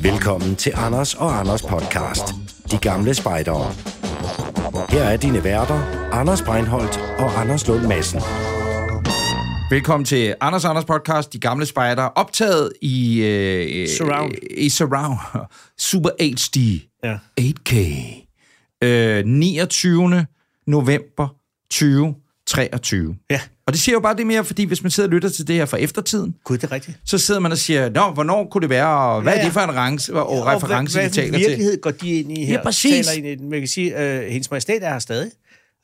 Velkommen til Anders og Anders podcast. De gamle spejdere. Her er dine værter, Anders Breinholt og Anders Lund Madsen. Velkommen til Anders Anders podcast, De Gamle Spejder, optaget i... Øh, Surround. øh, I surround. Super HD. Ja. 8K. Øh, 29. november 2023. Ja. Og det siger jo bare det mere, fordi hvis man sidder og lytter til det her fra eftertiden, Gud, det er rigtigt. så sidder man og siger, Nå, hvornår kunne det være, og hvad ja, Ja, ja. er ja. det for en range, og, og reference, hvad, vi taler hvad til? virkelighed går de ind i her? præcis. Taler ind i den. Man kan sige, at øh, hendes majestæt er her stadig.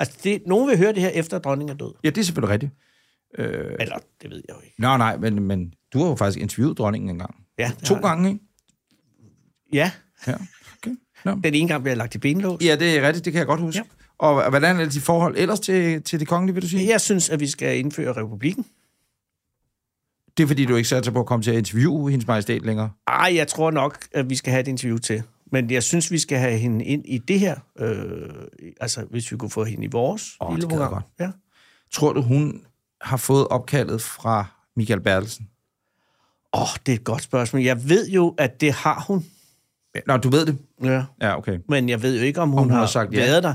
Altså, det, nogen vil høre det her efter, at dronningen er død. Ja, det er selvfølgelig rigtigt. Øh. Eller, det ved jeg jo ikke. Nå, nej, men, men du har jo faktisk interviewet dronningen en gang. Ja, det To har jeg. gange, ikke? Ja, Ja, okay. Nå. den ene gang bliver jeg lagt i benlås. Ja, det er rigtigt, det kan jeg godt huske. Ja. Og hvordan er dit forhold ellers til, til det kongelige, vil du sige? Jeg synes, at vi skal indføre republikken. Det er fordi, du ikke satser på at komme til at interviewe hendes majestæt længere. Ej, jeg tror nok, at vi skal have et interview til. Men jeg synes, vi skal have hende ind i det her. Øh, altså, hvis vi kunne få hende i vores Åh, det gad jeg godt. Ja. Tror du, hun har fået opkaldet fra Michael Bertelsen? Åh, oh, det er et godt spørgsmål. Jeg ved jo, at det har hun. Ja, Nå, du ved det. Ja. Ja, okay. Men jeg ved jo ikke, om hun, om hun har, har sagt ja. været der.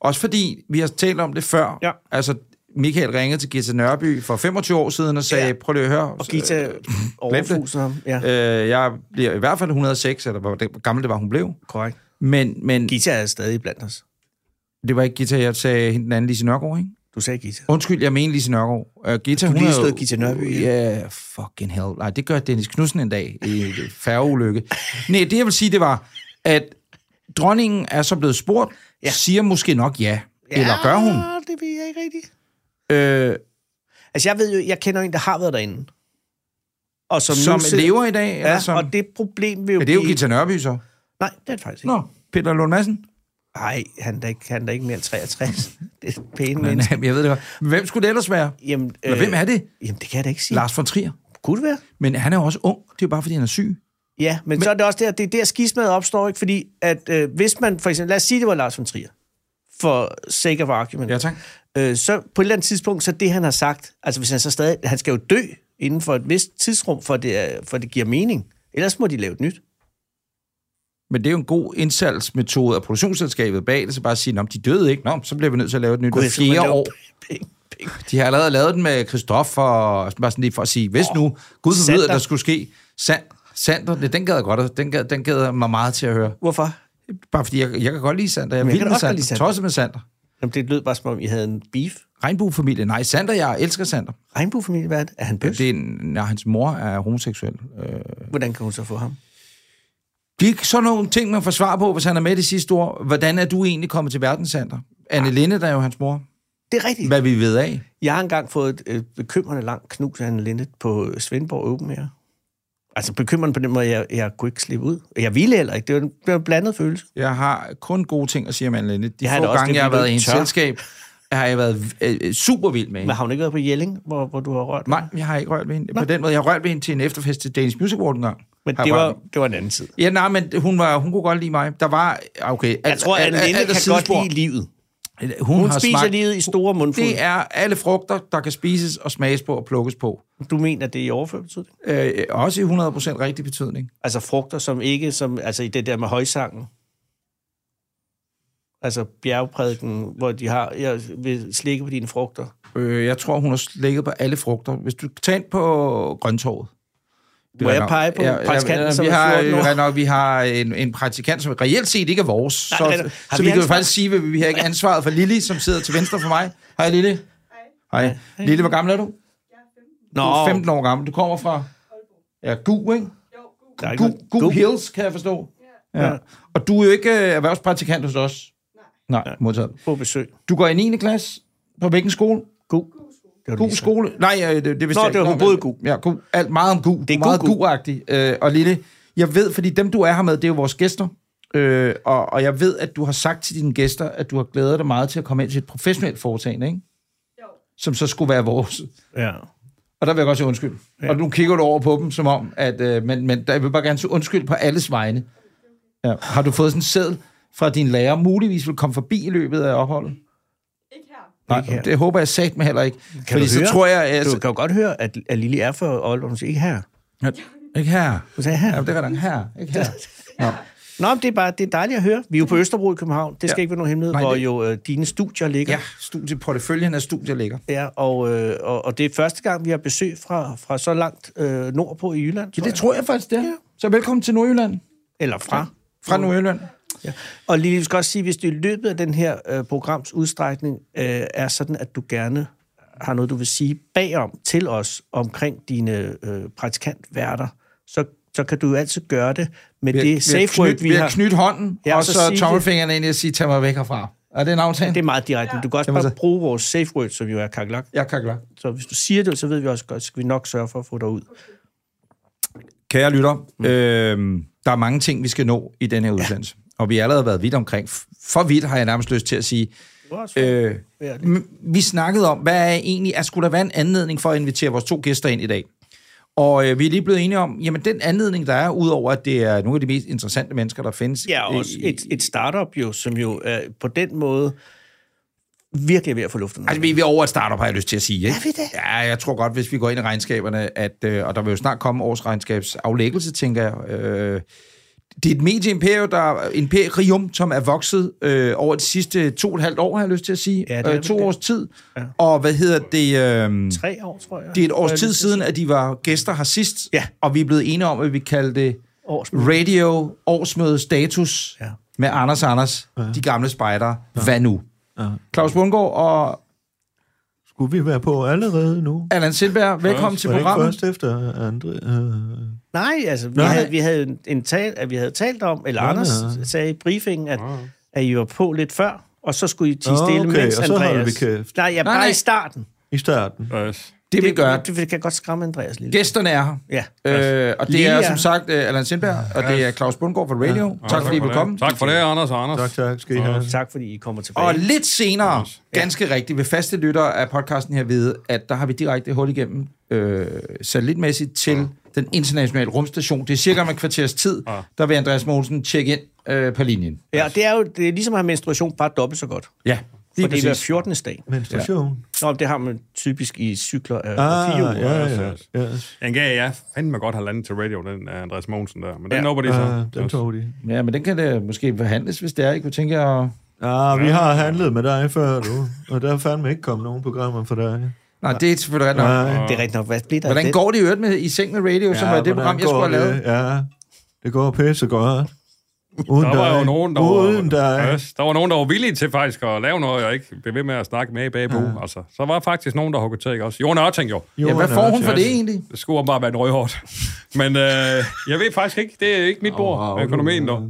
Også fordi, vi har talt om det før. Ja. Altså, Michael ringede til Gita Nørby for 25 år siden og sagde, ja. Ja. prøv lige at høre. Og Gita overfuser ham. Ja, Øh, jeg bliver i hvert fald 106, eller hvor hvor gammel det var, hun blev. korrekt. Men, men Gita er stadig blandt os. det var ikke Gita, jeg sagde hende den anden, Lise Nørgaard, ikke? Du sagde Gita. Undskyld, jeg mener Lise Nørgaard. Uh, Gita, hun lige er jo- slået Gita Nørby ihjel. Ja, yeah, fucking hell. Nej, det gør Dennis Knudsen en dag i en færgeulykke. Nej, det jeg vil sige, det var, at dronningen er så blevet spurgt, ja. Ja. siger måske nok ja. ja. Eller gør hun? Ah, det ved jeg ikke rigtigt. Øh, Altså, jeg ved jo, jeg kender en, der har været derinde. Og som, som nu sidder- lever i dag? Ja, eller Ja, som, og det problem vil jo ja, det er jo blive- Gita Nørby så. Nej, det er det faktisk ikke. Nå, Peter Lund Madsen. Nej, han er da ikke, han er da ikke mere end 63. det er pæne Men, mennesker. jamen, jeg ved det godt. Men Hvem skulle det ellers være? Jamen, øh, Eller hvem er det? Jamen, det kan jeg da ikke sige. Lars von Trier. Kunne det være? Men han er jo også ung. Det er jo bare, fordi han er syg. Ja, men, men så er det også der, det er der skismaet opstår, ikke? Fordi at øh, hvis man for eksempel, lad os sige, det var Lars von Trier, for sake of argument, Ja, tak. øh, så på et eller andet tidspunkt, så det han har sagt, altså hvis han så stadig, han skal jo dø inden for et vist tidsrum, for det, er- for det giver mening. Ellers må de lave et nyt. Men det er jo en god indsalgsmetode af produktionsselskabet bag det, så bare at sige, "Nå, men de døde ikke, Nå, men så bliver vi nødt til at lave et nyt Gud, Gud, jeg skal man fjerde lave år. Penge, penge. De har allerede lavet den med Christoffer, og bare sådan lige for at sige, hvis nu, Gud forbyder, at Sander. der skulle ske. Sand, Sander, det, den gad jeg godt, at- den gad, den gad jeg mig meget til at høre. Hvorfor? Bare fordi, jeg, jeg kan godt lide Sander, jeg er Men jeg vild kan med også godt Sander, lide Sander. Sander. tosset med Sander. Jamen, det lød bare, som om I havde en beef. Regnbuefamilie, nej, Sander, jeg elsker Sander. Regnbuefamilie, hvad er det? Er han bøs? Det er, en- nej, hans mor er homoseksuel. Øh, Hvordan kan hun så få ham? Det er sådan nogle ting, man får svar på, hvis han er med det sidste år. Hvordan er du egentlig kommet til verden, Sander? Anne Ah. Linde, der er jo hans mor. Det er rigtigt. Hvad vi ved af. Jeg har engang fået et øh, bekymrende langt knus af en linde på Svendborg Open her. Altså bekymrende på den måde, jeg, jeg kunne ikke slippe ud. Jeg ville heller ikke. Det var en, det var en blandet følelse. Jeg har kun gode ting at sige om Anne Linde. De Jeg har få da også gange, det, jeg har fordi du været i ikke hendes tør. selskab, har jeg været øh, øh, super vild med Men hende. har hun ikke været på Jelling, hvor, hvor du har rørt? Nej, jeg har ikke rørt ved hende. På den måde, jeg har rørt ved hende til en efterfest til Danish Music Award en gang. Men Har det jeg var, rørt ved- det var en anden tid. Ja, nej, men hun, var, hun kunne godt lide mig. Der var... Okay, Jeg tror, at Anne Linde kan godt lide livet. lide... Hun, Hun har spiser smagt, livet i store mundfulde. Det er alle frugter, der kan spises og smages på og plukkes på. Du mener, det er i overført betydning? Øh, også i 100% rigtig betydning. Altså frugter, som ikke... Som, altså i det der med højsangen. Altså bjergprædiken, hvor de har... Jeg vil slikke på dine frugter. Øh, jeg tror, hun har slikket på alle frugter. Hvis du tager ind på Grøntorvet. Må jeg pege på praktikanten, som vi er har, 14 år? øh, nok, vi har en, en praktikant, som reelt set ikke er vores. Nej, så, nej, nej. Har så vi vi, kan jo ansvar? faktisk sige, at vi har ikke ansvaret for Lili, som sidder til venstre for mig. Hej, Lille. Hej. Hej. Lille, hvor gammel er du? Nå, Du er 15 år gammel. Du kommer fra... Ja, Gu, ikke? der er ikke Gu, noget- Gu Gu. Hills, kan jeg forstå. Ja. Ja. Og du er jo ikke øh, erhvervspraktikant hos os. Nej. Nej, modtaget. på besøg. Du går i 9. klasse på hvilken skole? God. Det var God lige så. skole. Nej, øh, det, det vidste Nå, jeg ikke. det var både men- god. Ja, god. Alt meget om god. Det er meget god, god. god-agtigt. Øh, og Lille, jeg ved, fordi dem, du er her med, det er jo vores gæster. Øh, og, og jeg ved, at du har sagt til dine gæster, at du har glædet dig meget til at komme ind til et professionelt foretagende, ikke? Som så skulle være vores. Ja. Og der vil jeg godt sige undskyld. Ja. Og nu kigger du over på dem, som om, at... Øh, men, men der, jeg vil bare gerne sige undskyld på alles vegne. Ja. Har du fået sådan en seddel fra din lærer, muligvis vil komme forbi i løbet af opholdet? Ikke her. Nej, her. det håber jeg sat med heller ikke. Kan fordi du så høre? tror jeg... Altså, Du kan jo godt høre, at, at Lili er for Aalborg, hun siger ikke her. Ja, Ikke her. Du sagde, her. Ja, det var den her. Ikke her. Nå. Nå, men det er bare det er dejligt at høre. Vi er jo på Østerbro i København. Det skal Ja. ikke være nogen hemmelighed, Nej, hvor det- jo øh, dine studier ligger. Ja, studieporteføljen af studier ligger. Ja, og, øh, og, og det er første gang, vi har besøg fra, fra så langt øh, nordpå i Jylland. Ja, tror det tror jeg faktisk, det er. Så velkommen til Nordjylland. jeg. Eller fra. Fra Nordjylland. Ja. Og lige vi skal også sige, hvis du i løbet af den her øh, programs udstrækning øh, er sådan, at du gerne har noget, du vil sige bagom til os omkring dine øh, praktikantværter, så, så kan du jo altid gøre det med Vi har- det vi har safe word, knyt- vi Vi har har. knyttet hånden, Ja, og så så sig det. tommelfingrene ind i at sige, tag mig væk herfra. Er det en aftale? Det er meget direkte. men Du kan også Jamen, altså- bare så- bruge vores safe word, som jo er kakelak. Jeg kan klare. Så hvis du siger det, så ved vi også godt, skal vi nok sørge for at få dig ud. Kære lytter, Mm. øh, der er mange ting, vi skal nå i den her udsendelse. Og vi har allerede været vidt omkring. For vidt har jeg nærmest lyst til at sige. Øh, m- vi snakkede om, hvad er egentlig, at skulle der være en anledning for at invitere vores to gæster ind i dag? Og øh, vi er lige blevet enige om, jamen den anledning, der er, udover at det er nogle af de mest interessante mennesker, der findes. Ja, og også i- et, et startup jo, som jo er på den måde virkelig er ved at få luften. Altså, ud. vi vi er over et startup, har jeg lyst til at sige. Ikke? Er vi det? Ja, jeg tror godt, hvis vi går ind i regnskaberne, at, øh, og der vil jo snart komme årsregnskabsaflæggelse, tænker jeg. Øh, det er et medieimperium, der, imperium, som er vokset øh, over de sidste to og et halvt år, har jeg lyst til at sige. Ja, det er øh, to vel det. års tid. Ja. Og hvad hedder det? Øh, Tre år, tror jeg. det er et års Tror jeg, tid det- siden, at de var gæster her sidst. Ja. Og vi er blevet enige om, at vi kaldte det Årsmøde. Radio Årsmøde Status Ja. med Anders Anders, de gamle spejdere. Hvad nu? Ja. Claus Bundgaard og Skulle vi være på allerede nu? Allan Sindberg, velkommen til Var det ikke programmet. først efter andre... Øh, Nej, altså, vi, havde, vi havde en, en tal, at vi havde talt om, eller Nå, Anders ja. sagde i briefingen, at, at I var på lidt før, og så skulle I tige Nå, stille, okay, mens og så holder Andreas... vi kæft. Nej, ja, bare nej. i starten. I starten. Yes. Det vi gør, Det, det kan godt skræmme Andreas lidt. gæsterne er her. Ja. Øh, og det Lige er er- som sagt øh, Allan Sindberg, og det er Claus Bundgaard fra Radio. Tak fordi I vil komme. Tak for det, Anders og Anders. Tak, tak. Skal I have. Tak, fordi I kommer tilbage. Og lidt senere, ganske rigtigt, vil faste lyttere af podcasten her vide, at der har vi direkte hul igennem øh, satellitmæssigt til den internationale rumstation. Det er cirka om et kvarters tid, der vil Andreas Mogensen tjekke ind øh, på linjen. ja, det er jo det er ligesom at have menstruation, bare dobbelt så godt. Ja, For lige det er hver præcis. 14. dag. Menstruation. Nå, men det har man typisk i cykler af Ja. af Ah, fire uger. ja, altså. ja, ja. Den gav jeg fandme godt halvanden til radio, den af Andreas Mogensen der. Men den Ja. ja. nåede de så. Ah, den tog de. Ja, men den kan det måske forhandles, hvis det er. Jeg kunne tænke jer... Ah, vi har handlet med dig før, du. Og der er fandme ikke kommet nogen programmer for dig. Nej, det er selvfølgelig ret nok. Nej. Det er rigtigt nok. Hvad bliver der af Hvordan den? går det i øvrigt med I Seng med Radio, ja, som var det hvordan program, jeg går skulle have lavet? det? Ja, det går pisse godt. Uden Der var dig. jo nogen, der Uden var, dig. yes, der var nogen, der var villige til faktisk at lave noget, og ikke blev ved med at snakke med i bagbo. Ja. Altså, så var faktisk nogen, der huggede til, ikke også? Jon Ørting jo. Ja, hvad får hun for det egentlig? Det skulle bare være en røghårdt. Men øh, jeg ved faktisk ikke, det er ikke mit bord, Åh, oh, økonomien dog.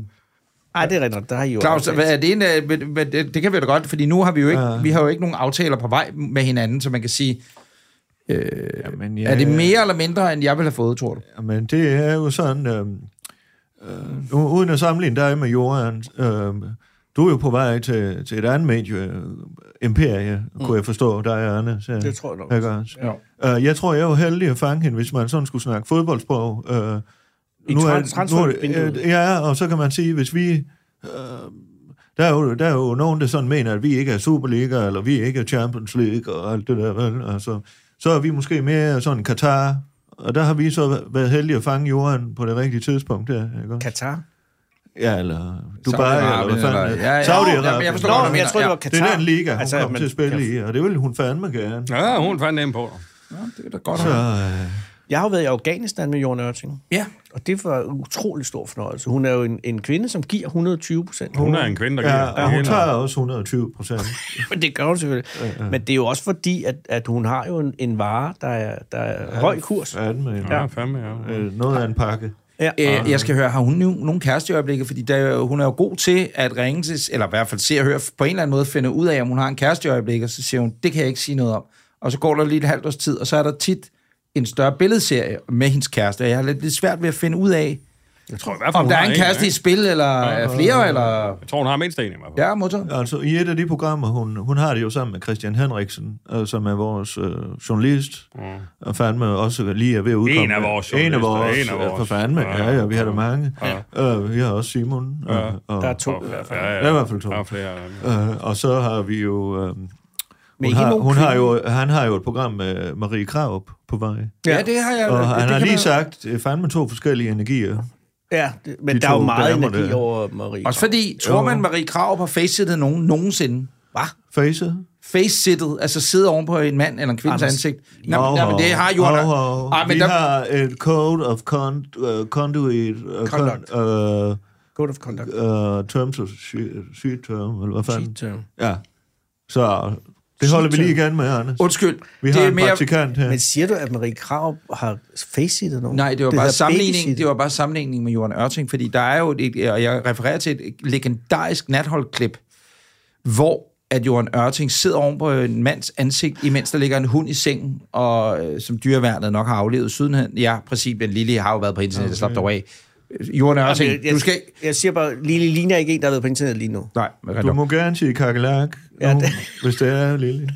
Ej, det er rigtigt nok. Der har I jo... Claus, aftalt. hvad er det, en, øh, men- men det, det kan vi da godt, fordi nu har vi jo ikke, Ja. vi har jo ikke nogen aftaler på vej med hinanden, så man kan sige, øh, Jamen, er det mere eller mindre, end jeg ville have fået, tror du? Men det er jo sådan, øh, Mm. øh, nu- uden at sammenligne dig med jorden, øh, du er jo på vej til, til et andet medie, øh, imperie, mm. kunne jeg forstå dig, Arne. Så, Det tror jeg nok. Ikke også? Ja. Øh, jeg tror, jeg var heldig at fange hende, hvis man sådan skulle snakke fodboldsprog. Øh, I trans- transfervinduet. øh, Ja, og så kan man sige, hvis vi... Øh, der, er jo, der er jo nogen, der sådan mener, at vi ikke er Superliga, eller vi ikke er Champions League, og alt det der, vel? Altså, så er vi måske mere sådan Katar, og der har vi så været heldige at fange jorden på det rigtige tidspunkt der, ikke? også? Katar? Ja, eller Dubai, eller hvad fanden? eller- ja, ja. Saudi-Arabien. Jamen, jeg forstår Nå, godt, men mener. jeg tror, det Ja. var Katar. Det er den liga, hun altså, kom men- til at spille i, og det vil hun fandme gerne. Ja, hun fandt dem på. Ja, det er da godt. Så, Så. øh, Jeg har jo været i Afghanistan med Jorn Ørting, Ja, og det var en utrolig stor fornøjelse. Hun er jo en, en kvinde, som giver 120 procent. Hun er en kvinde, der giver. Ja, og hun Det tager også 120 procent. Det gør hun selvfølgelig. Men det er jo også fordi, at, at hun har jo en, en vare, der er, der er høj kurs. Ja, den med Ja, fandme, ja. øh, noget af en pakke. Ja. øh, jeg skal høre, har hun nu nogen kæreste i øjeblikket? Fordi der, hun er jo god til at ringe til, eller i hvert fald se og høre, på en eller anden måde finde ud af, om hun har en kæreste i øjeblikket, og så siger hun, det kan jeg ikke sige noget om. Og så går der lige et halvt års tid, og så er der tit en større billedserie med hendes kæreste, og jeg har lidt, lidt svært ved at finde ud af, Jeg tror i hvert fald, om hun der er har en kæreste i ikke? spil, eller er flere, eller... Jeg tror, hun har mindst en i hvert fald. Ja, motor. Altså, i et af de programmer, hun, hun har det jo sammen med Christian Henriksen, øh, som er vores øh, journalist, mm. og fandme også lige er ved at udkomme. En af vores En af journalister, vores, en af vores. øh, for fandme. Ja, ja, vi har der mange. Ja. Øh, vi har også Simon. Ja. Og, og, Der er to. Ja, ja, ja. øh, Der er i hvert fald to. Der er flere. af dem. øh, og så har vi jo... Øh, Men Hun ikke har, nogen hun har kvinde. jo, han har jo et program med Marie Kraup på vej. Ja, ja det har jeg... Og det, han det har kan lige man- sagt øh, fandme to forskellige energier. Ja, det, men De der er jo to meget damer energi der. over Marie. Også fordi, tror man, Marie Krav har facesittet nogen nogensinde? Hvad? Face. Facesittet, altså sidde ovenpå en mand eller en kvindes Anders. ansigt. Nå, men- nå, men det har Johan... Hov, hov. Ej, men Vi der, har et code of con- uh, conduit... Uh, Conduct. Con, uh, Code of conduct. uh, terms of sy- sygdom, eller hvad fanden? Shit, øh. Ja. Så det holder vi lige igen med, Anders. Undskyld. Vi har en praktikant her. Men siger du, at Marie Krav har facet nogen? Nej, det var, bare hedder sammenligning, babysitting. det var bare sammenligning med Johan Ørting, fordi der er jo, et, og jeg refererer til et legendarisk natholdklip, hvor at Johan Ørting sidder oven på en mands ansigt, imens der ligger en hund i sengen, og øh, som dyreværnet nok har aflevet sidenhen. Ja, præcis, men Lili har jo været på internettet, slap dig af. Øh, Johan Ørting, Jeg, jeg, du skal ikke... jeg siger bare, Lille ligner ikke en, der har været på internet lige nu. Nej, men rigtig Du nok. må gerne sige kakelak, Ja, ja, det- hvis det er lille.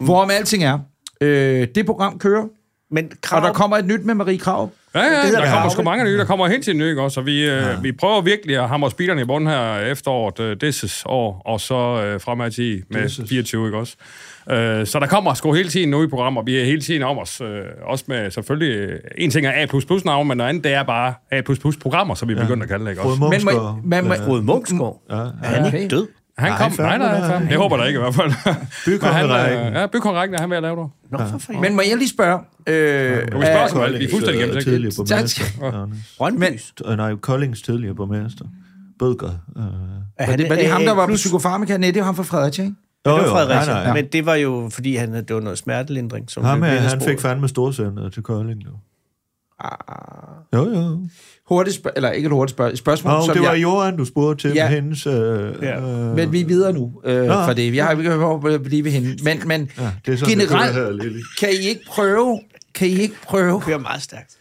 Hvorom alting er, øh, det program kører, Men og Krav, der kommer et nyt med Marie Krav. Ja, ja, hedder der kommer Krav, sgu ikke? mange nye, der kommer hen til en ny, ikke også? Og vi, øh, vi prøver virkelig at hamre speederne i bunden her efteråret, øh, this år, og så øh, fremad til med 24, ikke også? Øh, så der kommer sgu hele tiden nye programmer, vi er hele tiden om os, øh, også med selvfølgelig, øh, en ting er A++-navn, men noget andet, det er bare A++-programmer, som vi er begyndt at kalde det, ikke også? Frode Men må, Munchsgaard. man, må, Frode Munchsgaard, ja, er han ikke død? Han kom, nej, fandme, nej, nej. nej, fandme. det håber der ikke i hvert fald. Bykongerækken. Men han, øh, Ja, bykongerækken er han ved at lave det. Nå, for fanden. men må jeg lige spørge... Øh, Du kan spørge os om af- alt, vi er fuldstændig Øh, gennemtænkt. Tidligere Tak. borgmester. Anders. Brøndbys. Øh, Nej, Koldings tidligere borgmester. Bødker. Øh. Er Var han- det, var det er- ham, er- der var på plus- psykofarmaka? Nej, det var ham fra Fredericia, ikke? Jo, Det var Fredericia, nej, nej. men det var jo, fordi han, det var noget smertelindring. Som Ham blev her, han efterspurgt. fik fandme storcenteret til Kolding. Jo, jo. jo. Hurtigt spørg- eller ikke et hurtigt spørg- spørgsmål, Nå, som det var jeg... Johan, du spurgte til Ja. ja. hendes... Øh, Ja. øh, Men vi er videre nu øh, Nå. fra det. Jeg har ikke behov at blive ved hende. Men, men ja, det er sådan, generelt det er her, Lili. kan I ikke prøve, kan I ikke prøve kører meget stærkt.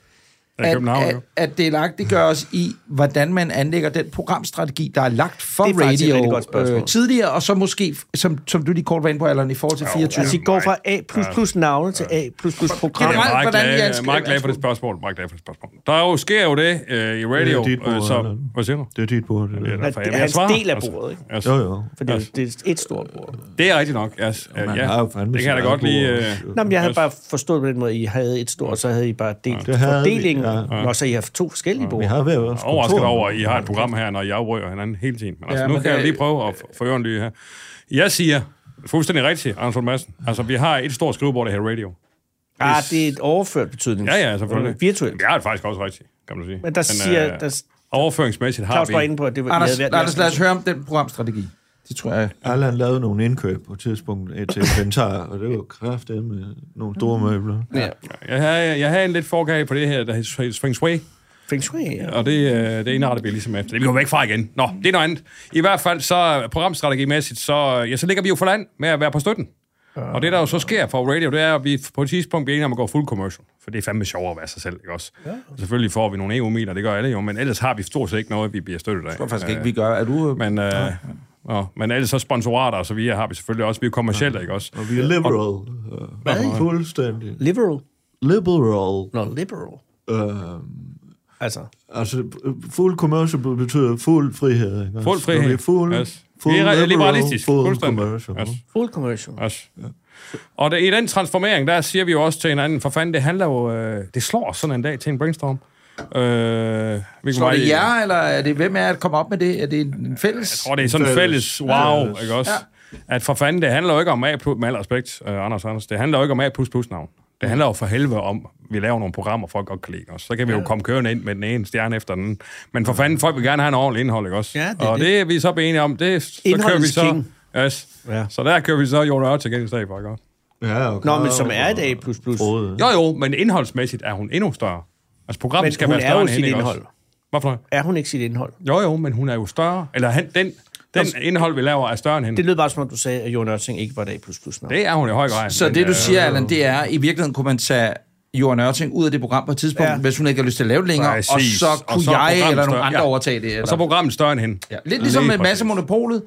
Ja, at, København, at, jo. at delagtiggøre os i, hvordan man anlægger den programstrategi, der er lagt for Det er faktisk et rigtig godt radio spørgsmål. øh, tidligere, og så måske, som, som du lige kort var inde på, Allan, i forhold til 24. Altså, de går fra A++-navne til Jeg A++-programmer. er Generelt, meget, hvordan I glad, anskriver meget glad for det anskuer. spørgsmål. Meget glad for det spørgsmål. Der er jo, sker jo det øh, i radio, Det er dit det bord, øh, så... Allan. Hvad siger du? Det er dit bord. Det, der. derfor, det er jeg- jeg hans svarer, del af altså. bordet, ikke? Altså, Jo, jo. For det, er- det er et stort ord. Det er rigtigt nok. Altså, øh, Man ja, har jo det fandme kan sit jeg da eget godt lige... bord. Øh, Nå, men jeg havde Yes. bare forstået på den måde, at I havde et stort, og så havde I bare delt Det havde vi, fordelingen, ja. og så I har haft to forskellige Vi bord. har været vores overrasket kontor. over, at I har et program her, når jeg rører hinanden hele tiden. Men altså, Ja, ja, nu men men kan det- jeg lige prøve at f- få øren lige her. Jeg siger, fuldstændig rigtigt, Anders Lund Madsen, altså vi har et stort skrivebord, der hedder radio. Ah, det er et overført betydning. Ja, ja, selvfølgelig. Øh, Virtuelt. Ja, det er faktisk også rigtigt, kan man sige. Men der siger- øh, der- Overføringsmæssigt har Claus vi... var inde på, at det var... I Anders, havde været- Anders, lad os høre om den programstrategi. Det tror jeg... Allan lavede nogle indkøb på et tidspunkt øh, til inventar, og det var kraftedeme nogle store møbler. Ja. Jeg havde, jeg havde en lidt forgave på det her, der hedder Swing Sway. Feng Shui, ja. og det, øh, det indretter vi ligesom efter. Det går vi væk fra igen. Nå, det er noget andet. I hvert fald så øh, programstrategimæssigt, så, øh, ja, så ligger vi jo for land med at være på støtten. Og det, der jo så sker for radio, det er, at vi på et tidspunkt bliver enige om at gå fuld commercial. For det er fandme sjovere at være sig selv, ikke også? Ja. Selvfølgelig får vi nogle EU-midler, det gør alle jo, men ellers har vi stort set ikke noget, vi bliver støttet af. Jeg tror faktisk ikke, vi gør. Er du... øh, Men, øh, ja. Nå, men ellers så sponsorater og så videre har vi selvfølgelig også. Vi er jo kommercielle, ikke også? Og vi er liberal. øh, Fuldstændig. Liberal. Liberal. Nå, liberal. Øh, Altså, altså, øh, fuld commercial betyder fuld frihed. Ikke? Fuld Altså, frihed. Vi er fuld, Yes. fuld Vi er liberal, liberalistisk. Fuld Fuldstændig. commercial. Yes. full commercial. Også. Ja. Og der, i den transformering, der siger vi jo også til hinanden, for fanden, det handler jo, øh, det slår os sådan en dag til en brainstorm. Øh, vi Slår det jer, eller er det, hvem er at komme op med det? Er det en fælles? Og det er sådan en Fælles. fælles wow, Fælles. ikke også? At for fanden, det handler jo ikke om A+, med al respekt, øh, Anders Anders, det handler jo ikke om A++ navn. Det handler jo for helvede om, at vi laver nogle programmer, folk godt kan lide os. Så kan vi jo komme kørende ind med den ene stjerne efter den anden. Men for fanden, folk vil gerne have en ordentlig indhold, ikke også? Ja, det er og det. er vi så blevet enige om. Det, så kører vi Indholdets så... king. Yes. Ja. Ja. Så der kører vi så Jon Ørting ind i stedet for, ikke også? Ja, okay. Nå, men som er et A++. Frode. Jo, jo, men indholdsmæssigt er hun endnu større. Altså programmet Men skal hun være er større jo end sit hende, ikke indhold. også? Hvorfor? noget? Er hun ikke sit indhold? Jo, jo, men hun er jo større. Eller han, den, den indhold, vi laver, er større end hende. Det Det, lød bare, som om du sagde, at Jon Ørting ikke var et A++-navn. det er hun i høj grad. Så men, det, du øh, siger, Allan, det er, i virkeligheden kunne man tage Johan Ørting ud af det program på et tidspunkt, Ja. ja. hvis hun ikke har lyst til at lave det længere, Præcis. og så Og kunne så er og så jeg programmet eller nogle større. andre ja. Ja. overtage det. Eller? Og så er programmet større end hende. ja. Lidt ligesom Lige med præcis. Masse Monopolet,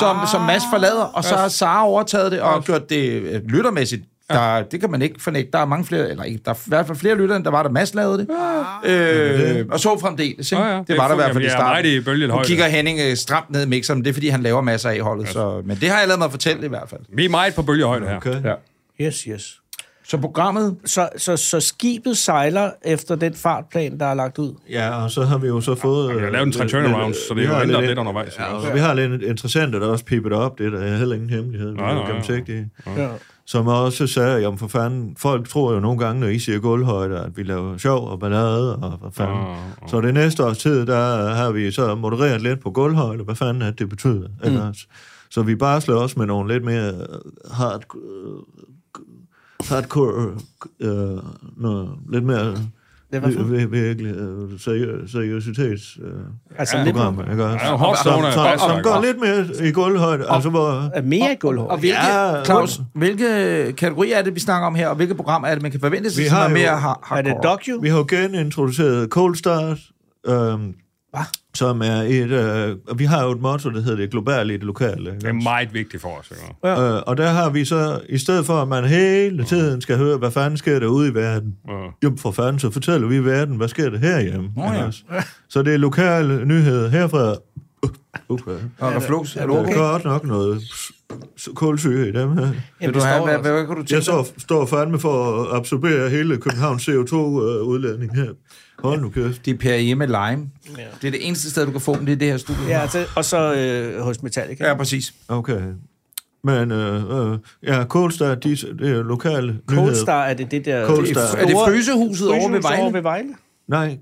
som, som Mads forlader, og så har Sara overtaget det og gjort det øh, lyttermæssigt Der, det kan man ikke fornægte. Der er mange flere, eller ikke, der er i hvert fald flere lyttere, end der var, der Mads lavede det. det er Øh, og så fremdeles. Ikke? Ja, ja. Det var der i hvert fald i Jamen, jeg er starten. meget i bølgehøjde. Nu kigger Henning øh, stramt ned i mixeren, det er fordi, han laver masser af i holdet. Så, men det har jeg lavet mig fortælle i hvert fald. Vi er meget på bølgehøjde her. Okay. Ja. Yes, yes. Så programmet, Så, så, så skibet sejler efter den fartplan, der er lagt ud. Ja, og så har vi jo så fået... øh, Vi har lavet en tre lidt- turnarounds, lidt- så det vi er jo har ændret lidt- lidt undervejs, ikke Ja, også? og vi har lidt interessant, der er også pippet op. Det er der heller ingen hemmelighed. Nej, Nej, nej, nej. nej, nej. Ja. Som også sagde, jamen for fanden, folk tror jo nogle gange, når I siger gulvhøjde, at vi laver sjov og ballade, og hvad fanden. Ah, ah. Så det næste års tid, der har vi så modereret lidt på gulvhøjde, hvad fanden at det betyder. Mm. Så vi bare slår også med nogle lidt mere øh, hard, øh, hardcore, øh, noget, lidt mere Ja, hvad for? vir- virkelig øh, seriø- seriøsitets øh, Altså ja, lidt program, ikke også? Ja, og som, hårdstående som, basser, som ikke går også? lidt mere i gulvhøjde, altså hvor... er mere gulvhår. og hvilke, Ja. ja, Claus, hvilke kategorier er det, vi snakker om her, og hvilke programmer er det, man kan forvente sig, Vi som har er jo- mere har, hardcore? Er det docu? Vi har jo genintroduceret Cold Start, øhm, som er et... Øh, og vi har jo et motto, der hedder det globale i det lokale. Det Ikke? er meget vigtigt for os. Ikke? også? Ja. Øh, og der har vi så, i stedet for at man hele tiden skal høre, hvad fanden sker der ude i verden, Ja. jo for fanden, så fortæller vi verden, hvad sker der herhjemme. Oh, ja. Så det er lokale nyheder herfra. Uh, Okay. Og reflux, er du Der er okay? godt nok noget kulsyre i dem her. Vil Jamen, du have, det står hvad, også. hvad, hvad kan du Jeg tænke dig? så, står fandme for at absorbere hele Københavns CO2-udledning øh, her. Hold nu kæft. Det er Per Hjemme Lime. Ja. Det er det eneste sted, du kan få dem, det er det her studie. Ja, til, og så øh, hos Metallica. ja præcis. Okay. Men øh, øh, ja, Koldstar, de, det er lokale nyheder. Coldstar, er det det der... Cold Star. Er det frysehuset over ved Frysehuset Vejle? Over ved Vejle? Nej,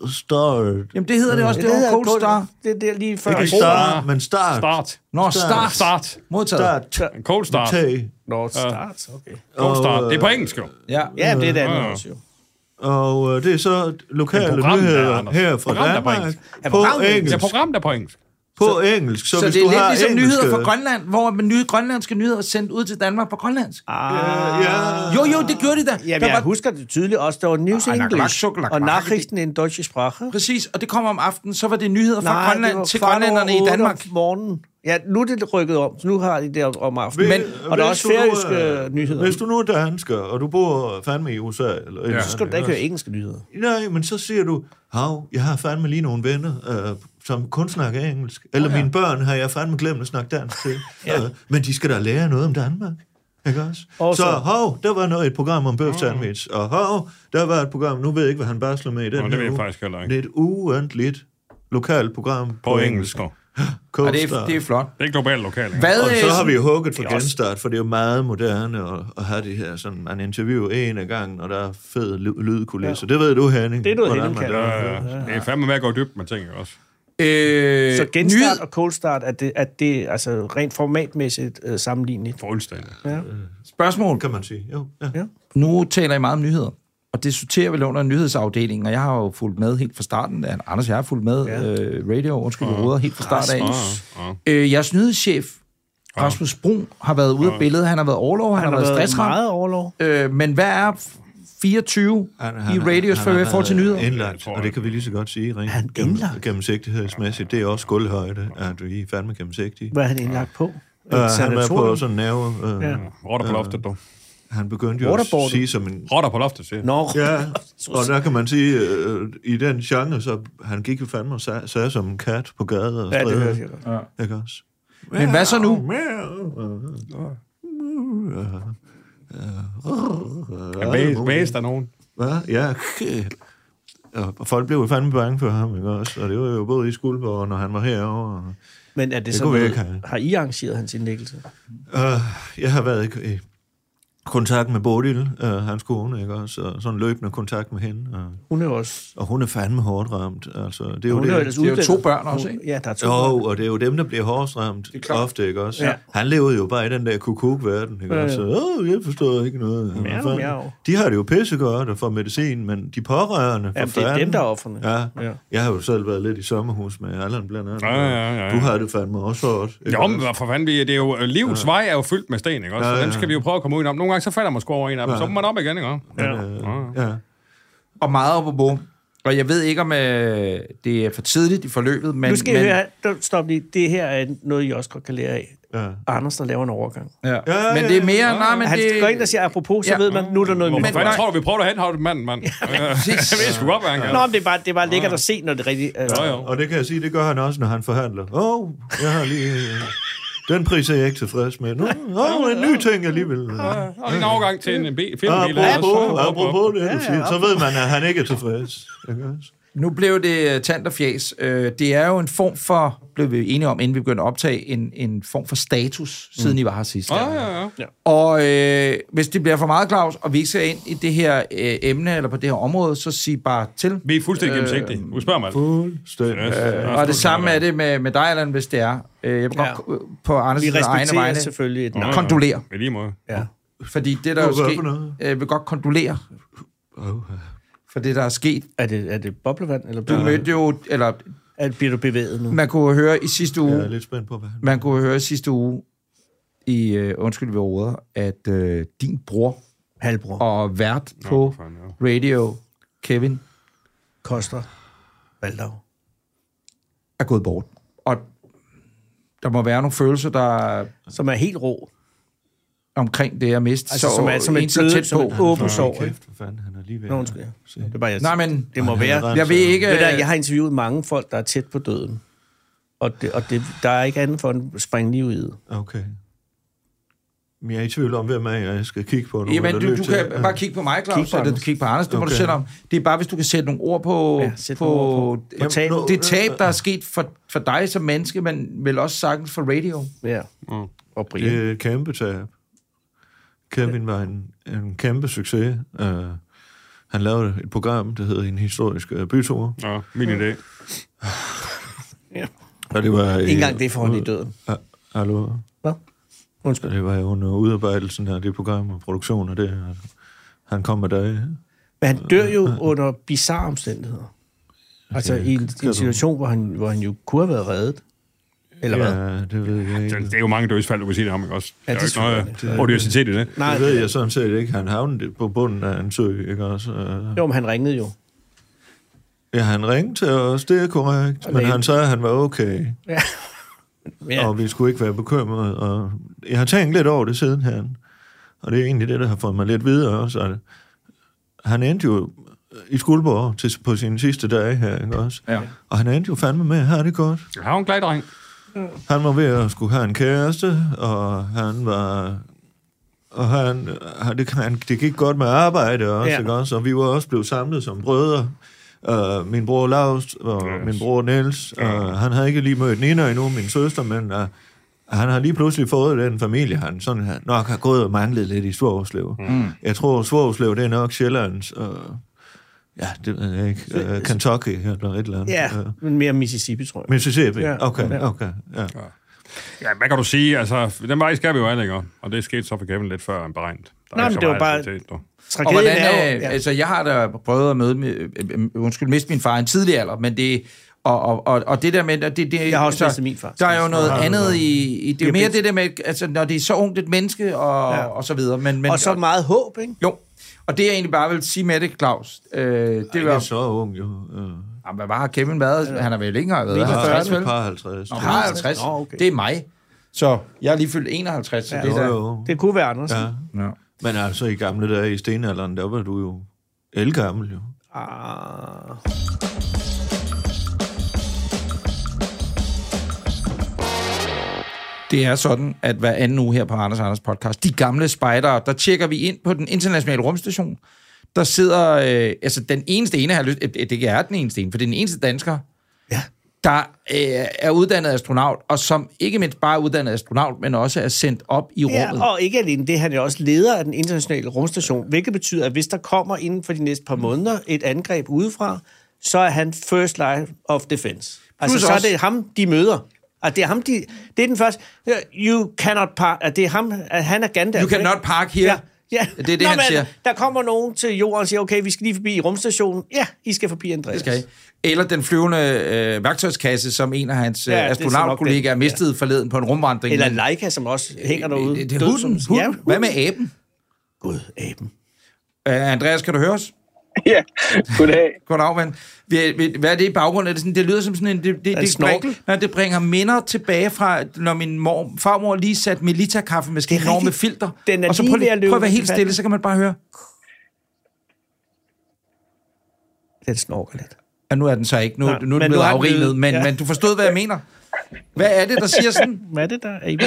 Coldstar. Jamen, det hedder det også. Det, det hedder er Cold Cold- Star. Det er der lige før. Ikke Ikke star, star, men start. Start. Nå, Start. Start. Modtaget. Start. En cold start. Tag. Nå, start, okay. Cold start. Det er på engelsk, jo. Ja. Ja, men det er det Ja. andet også, jo. Og øh, det er så lokale Men programmet er, nyheder Anders. her fra Programmet er på Danmark. engelsk. På programmet er Det engelsk. er program, der er på engelsk. På engelsk. Så, Så, hvis det du er lidt har ligesom engelske... nyheder fra Grønland, hvor man nye grønlandske nyheder er sendt ud til Danmark på grønlandsk. Ja, ja. Jo, jo, det gjorde de da. Ja, der jeg husker det tydeligt også. Der var News Ah, in lak, lak, English, suk, lak, og lak. Nachrichten in Deutsche Sprache. Præcis, og det kommer om aftenen, så var det nyheder fra Nej, det var Grønland til fra grønlænderne i otte om Danmark. morgenen. Ja, nu er det rykket om, så nu har de det om- om aftenen. Hvis- Men, og der er hvis også du nu færøske er- nyheder. Hvis du nu er dansker, og du bor fandme i USA, eller ja. så skal du da ikke høre engelske nyheder. Nej, men så siger du, hav, jeg har fandme lige nogle venner, øh, som kun snakker engelsk. Eller mine børn har jeg fandme glemt at snakke dansk til. ja. øh, men de skal da lære noget om Danmark. Ikke også? Og så så- hov, der var noget, et program om bøf sandwich. Og hov, der var et program, nu ved jeg ikke, hvad han barsler med i den Nå, det her ved jeg uge. faktisk heller ikke. Det er et uendtligt lokalt program på, På engelsk. engelsk. jo. Og Og, det er, det er flot. Det er globalt lokalt. ikke? Hvad, og øh, så har vi jo hugget for genstart, for det er jo meget moderne at, at have det her, sådan man interviewer en af gangen, og der er fed ly- lydkulisse. Ja. Det ved du, Henning. Det er du, hvordan Henning, man kan. gør. Ja, ja. Det er fandme med at gå i dybden med ting, ikke også? øh, Så genstart nyhed- og cold start, er det, er det altså rent formatmæssigt øh, sammenligneligt? Fuldstændig. spørgsmål. kan man sige. Jo, ja. Ja. Nu taler I meget om nyheder, og det sorterer vel under nyhedsafdelingen, og jeg har jo fulgt med helt fra starten. Anders, jeg har fulgt med ja. øh, radio, undskyld, jeg råder helt fra start af. ja. Øh, jeres nyhedschef, Rasmus Brun, har været ude af billedet. Han har været overlov, han, Han har været stressramt. meget overlov. Øh, men hvad er 24 i radios for, for til nyheder? Indlagt, og det kan vi lige så godt sige. Rent Han gennem- indlagt? Gennemsigtighedsmæssigt, det er også guldhøjde, at vi er fandme gennemsigtige. Hvad er han indlagt på? Et Uh, han var på sanatorium? sådan en nerve. Uh, Ja. ja. Rotter på loftet, du. Han begyndte jo at Waterboarding. sige som en... Rotter på loftet, siger jeg. Nå, Ja, og der kan man sige, uh, i den genre, så han gik jo fandme og sag, sagde som en kat på gaden og ja, det stræder. hørte jeg godt. Ikke også? Men hvad så nu? Jeg er mæst af nogen. Hvad? Ja. Og folk blev jo fandme bange for ham, ikke også? Og det var jo både i Skuldborg, når han var herovre. og- Men er det, det sådan kunne vi noget, ikke have. har I arrangeret hans indlæggelse? Øh, jeg har været i, i kontakt med Bodil, øh, hans kone, ikke også? Og sådan løbende kontakt med hende. Og, Hun er jo også... og hun er fandme hårdt ramt. Altså, det er jo Hun er jo det. ellers det er jo uddannet. to børn også, Hun- ikke? Ja, der er to Jo, børn. og det er jo dem, der bliver hårdest ramt ofte, ikke også? Ja. Ja. Han levede jo bare i den der kukuk-verden, ikke Ja, ja, ja. også? Åh, jeg forstår ikke noget. Hvad Miau, fanden? miau. De har det jo pissegodt og får medicin, men de pårørende, for Jamen, det er fanden. dem, der er offerne. Ja. Ja. ja. Jeg har jo selv været lidt i sommerhus med Allan blandt andet. Ja, ja, ja, ja. Du har det fandme også hårdt. ikke Jo, men også? hvad for fanden, vi- det er jo, øh, livets vej er jo fyldt med sten, ikke også? Ja, Så ja. dem skal vi jo prøve at komme ud om. Nogle øh, gange så falder man sgu over en af dem, så må man op igen, ikke også? Ja. ja. Og meget op på bo. Og jeg ved ikke, om øh, det er for tidligt i forløbet, men... Men, nu skal men, men... høre, der- stop lige. Det her er noget, I også godt kan lære af. Ja. Anders, der laver en overgang. Ja. ja, Men det er mere... ja. Nej, men Men han det... det... går ind og siger, apropos, så Ja. ja. ved man, nu er der noget Hvorfor nyt. fanden nej. tror du, vi prøver at henholde manden, mand? Jeg ved sgu godt, hvad han gør. Nå, men det er bare, det er bare lækkert at se, når det er rigtigt. Altså. Jo, jo. Og det kan jeg sige, det gør han også, når han forhandler. Åh, oh, jeg har lige... øh, Den pris er jeg ikke tilfreds med. Nå, oh, en ny ting alligebil. Ja. Og en afgang til en bil. filmbil. Apropos, apropos det, du siger, så ved man, at han ikke er tilfreds. Ikke også? Nu blev det øh, tand og fjæs. Øh, Det er jo en form for, blev vi enige om, inden vi begyndte at optage, en, en form for status, siden I var her sidst. Ja, ja, ja. Og øh, hvis det bliver for meget, Claus, og vi ikke ser ind i det her øh, emne eller på det her område, så sig bare til. Vi er Øh, fuldstændig gennemsigtige. Du spørger mig. Fuldstændig. Og det samme er det med, med dig, Allan, hvis det er. Øh, Jeg vil Ja. godt øh, på Anders' Vi egne respekterer vegne selvfølgelig et navn. kondolere. I lige måde. Ja. Fordi det, der er Hvad for sket, noget? øh, jeg vil godt kondolere for det, der er sket. Er det, er det boblevand, eller Du bliver du, mødte jo, eller er, bliver du bevæget nu? man kunne høre i sidste uge, Jeg er lidt spændt på, hvad han... Man kunne høre sidste uge i øh, Undskyld ved ordet, at øh, din bror Halvbror. Og og vært på for fanden, radio, Kevin, Koster. Valdau. er gået bort. Og der må være nogle følelser, der er Som er helt rå. omkring det at miste Altså, så, som er, som er en så død, tæt som på. er åben sorg. Hold kæft, hvad fanden, han er lige ved. Nå, undskyld. Ja. Det er bare, jeg, Nej, men det må være. han er jeg ved ikke... Ved du, jeg har interviewet mange folk, der er tæt på døden. Og, det, og det, der er ikke andet for end at springe lige ud i det. Okay. Men jeg er i tvivl om, hvem af jer jeg skal kigge på nu. øh, Jamen, eller du, lytte du til. kan Ja. bare kigge på mig, Claus, Kig på eller du Anders. kigge på Anders. Det må du Okay. selv om. Det er bare, hvis du kan sætte nogle ord på, Ja, sæt på, nogle ord på Jamen, Tal- nu- det tab, der er sket for, for dig som menneske, men vel også sagtens for radio. Ja. Og Brian. Mm. Det er et kæmpe tab. Kevin var en, en kæmpe succes. Uh, han lavede et program, der hedder En Historisk øh, Bytur. Nå, min idé. Ja. Og det var... Ikke engang det får han i døden. Hallo? Hvad? Så Undskyld. det var jo under udarbejdelsen af det program og produktion af det. og Han kom med dig. Men han dør jo under bizarre omstændigheder. Altså i en, skal en du- situation, hvor han, hvor han jo kunne have været reddet. Eller hvad? Ja, det ved jeg Det ikke. er jo mange dødsfald, du kan sige det om, ikke også? Ja, Der er det jo er ikke noget odiositet i det. Nej, Det ved jeg sådan set ikke. Han havnede på bunden af en sø, ikke også? Øh, jo, men han ringede jo. Ja, han ringte til os, det er korrekt. Men det- han sagde, at han var okay, Ja. ja. og vi skulle ikke være bekymrede. Og jeg har tænkt lidt over det siden han. Og det er egentlig det, der har fået mig lidt videre også. At han endte jo i Skuldborg til, på sine sidste dage her, ikke også? Ja. Og han endte jo fandme med, har det godt. Jeg har jo en glad dreng. Han var ved at skulle have en kæreste, og han var... Og han, han, det, han, det gik godt med arbejde også, Ja. ja. ikke også? Og vi var også blevet samlet som brødre. Uh, min bror Lars og Yes. yes. min bror Niels, uh, han havde ikke lige mødt Nina endnu, min søster, men uh, han har lige pludselig fået den familie, han sådan har- nok har gået og manglet lidt i Svorslev. Mm. Jeg tror, Svorslev, det er nok Sjællands... Uh, ja, det ved jeg ikke. Uh, Kentucky eller et eller andet. ja, Uh, men mere Mississippi, tror jeg. Mississippi. Ja. Okay, okay. Ja. Ja, hvad kan du sige? Altså, den vej skal vi jo an, ikke? Og det skete så for Kevin lidt før end beregnet. Der Nå, er men ikke så det var meget bare- aktivitet, du. Og Tragedien hvordan, er er, jo... Ja. altså, jeg har da prøvet at møde, mi- øh, øh, undskyld, miste min far i en tidlig alder, men det, og, og, og, og det der med, at det, det, Jeg har også altså, mistet min far. Der er jo noget Ja, andet i, i det er jo mere Diabetes. det der med, altså, når det er så ungt et menneske, og, ja. Ja. og så videre. Men, men, Og så meget håb, ikke? jo, og det jeg egentlig bare vil sige med det, Claus, øh, det Det var var, så ung, jo. Øh, jamen, hvad har Kevin været? Han har vel ikke engang været 50, vel? et par 50. Han har 50, Nå, okay. det er mig. Så jeg er lige fyldt 51, så Ja, det Jo, der. jo. Det kunne være Anders. Ja. Ja. Ja. Men altså, i gamle dage i stenalderen, der var du jo elgammel, jo. Ah. Det er sådan, at hver anden uge her på Anders Anders podcast, de gamle spejdere, der tjekker vi ind på den internationale rumstation. Der sidder, øh, altså den eneste ene, jeg har lyst, øh, det er den eneste ene, for det er den eneste dansker, Ja. der øh, er uddannet astronaut, og som ikke mindst bare er uddannet astronaut, men også er sendt op i rummet. ja. Og ikke alene det, han er også leder af den internationale rumstation, hvilket betyder, at hvis der kommer inden for de næste Mm. par måneder et angreb udefra, så er han first line of defense. Altså, Plus så er også- det ham, de møder. Og det er ham, de... Det er den første... You cannot park... Det er ham... at Han er Gandalf. You cannot ikke? park here. Ja. Det er det, Nå, han men siger. Der kommer nogen til jorden og siger, okay, vi skal lige forbi rumstationen. Ja, I skal forbi Andreas. Det skal I. Eller den flyvende øh, værktøjskasse, som en af hans Ja, ja, det er så nok astronautkollegaer den. mistede ja. forleden på en rumvandring. Eller Men- Leica, som også hænger derude. Øh, det, det, Død hunden, som- hunden. Ja, Hvad med aben? Gud, aben. Uh, Øh, Andreas, kan du høre os? ja, goddag. Goddag, mand. Vi- vi- Hvad er det i baggrunden? Er det, sådan, det lyder som sådan en... Det, det, en det, snorkel? nej, det bringer minder tilbage fra, når min mor, farmor lige satte Melita-kaffe med Det skæn er over med rigtigt. filter. Den er og så lige prøv, ved at løbe prøv at være helt til stille, vandet. så kan man bare høre. Den snorker lidt. Ja, nu er den så ikke. Nu, Nej, nu er den men nu blevet er den afrimet, blevet- men, ja. men du forstod, hvad jeg mener. Hvad er det, der siger sådan? Hvad er det der? Er I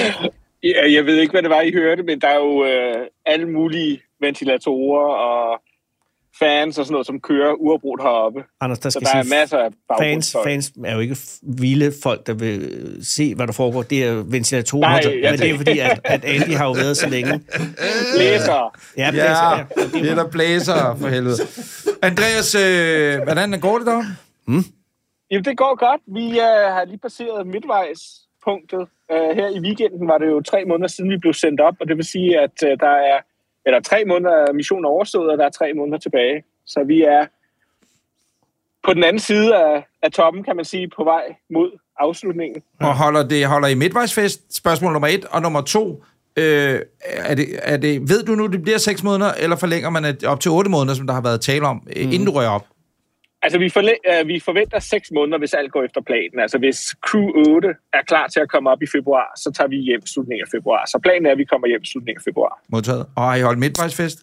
Ja, jeg ved ikke, hvad det var, I hørte, men der er jo øh, alle mulige ventilatorer og fans og sådan noget, som kører uafbrudt heroppe. Anders, der Så skal der er sige, masser af fans, Øh. baggrundsfolk. fans er jo ikke f- vilde folk, der vil øh, se, hvad der foregår. Det er jo ventilatorer, Nej, men jeg det er jo tænker- fordi, at, at Andy har jo været så længe. Læsere. Ja, det er, så- Ja, det er der blæser, for helvede. Andreas, øh, hvordan går det dog? Jamen, det går godt. Vi øh, har lige passeret midtvejspunktet. Øh, her i weekenden var det jo tre måneder siden, vi blev sendt op, og det vil sige, at øh, der er eller tre måneder af missionen er overstået, og der er tre måneder tilbage. Så vi er på den anden side af, af toppen, kan man sige, på vej mod afslutningen. Og holder, det, holder I midtvejsfest? Spørgsmål nummer et. Og nummer to, øh, er det, er det, ved du nu, det bliver seks måneder, eller forlænger man det op til otte måneder, som der har været tale om, mm. inden du rører op? Altså, vi, forle- øh, vi forventer seks måneder, hvis alt går efter planen. Altså, hvis Crew 8 er klar til at komme op i februar, så tager vi hjem i slutningen af februar. Så planen er, at vi kommer hjem i slutningen af februar. Modtaget. Og har I holdt midtvejsfest?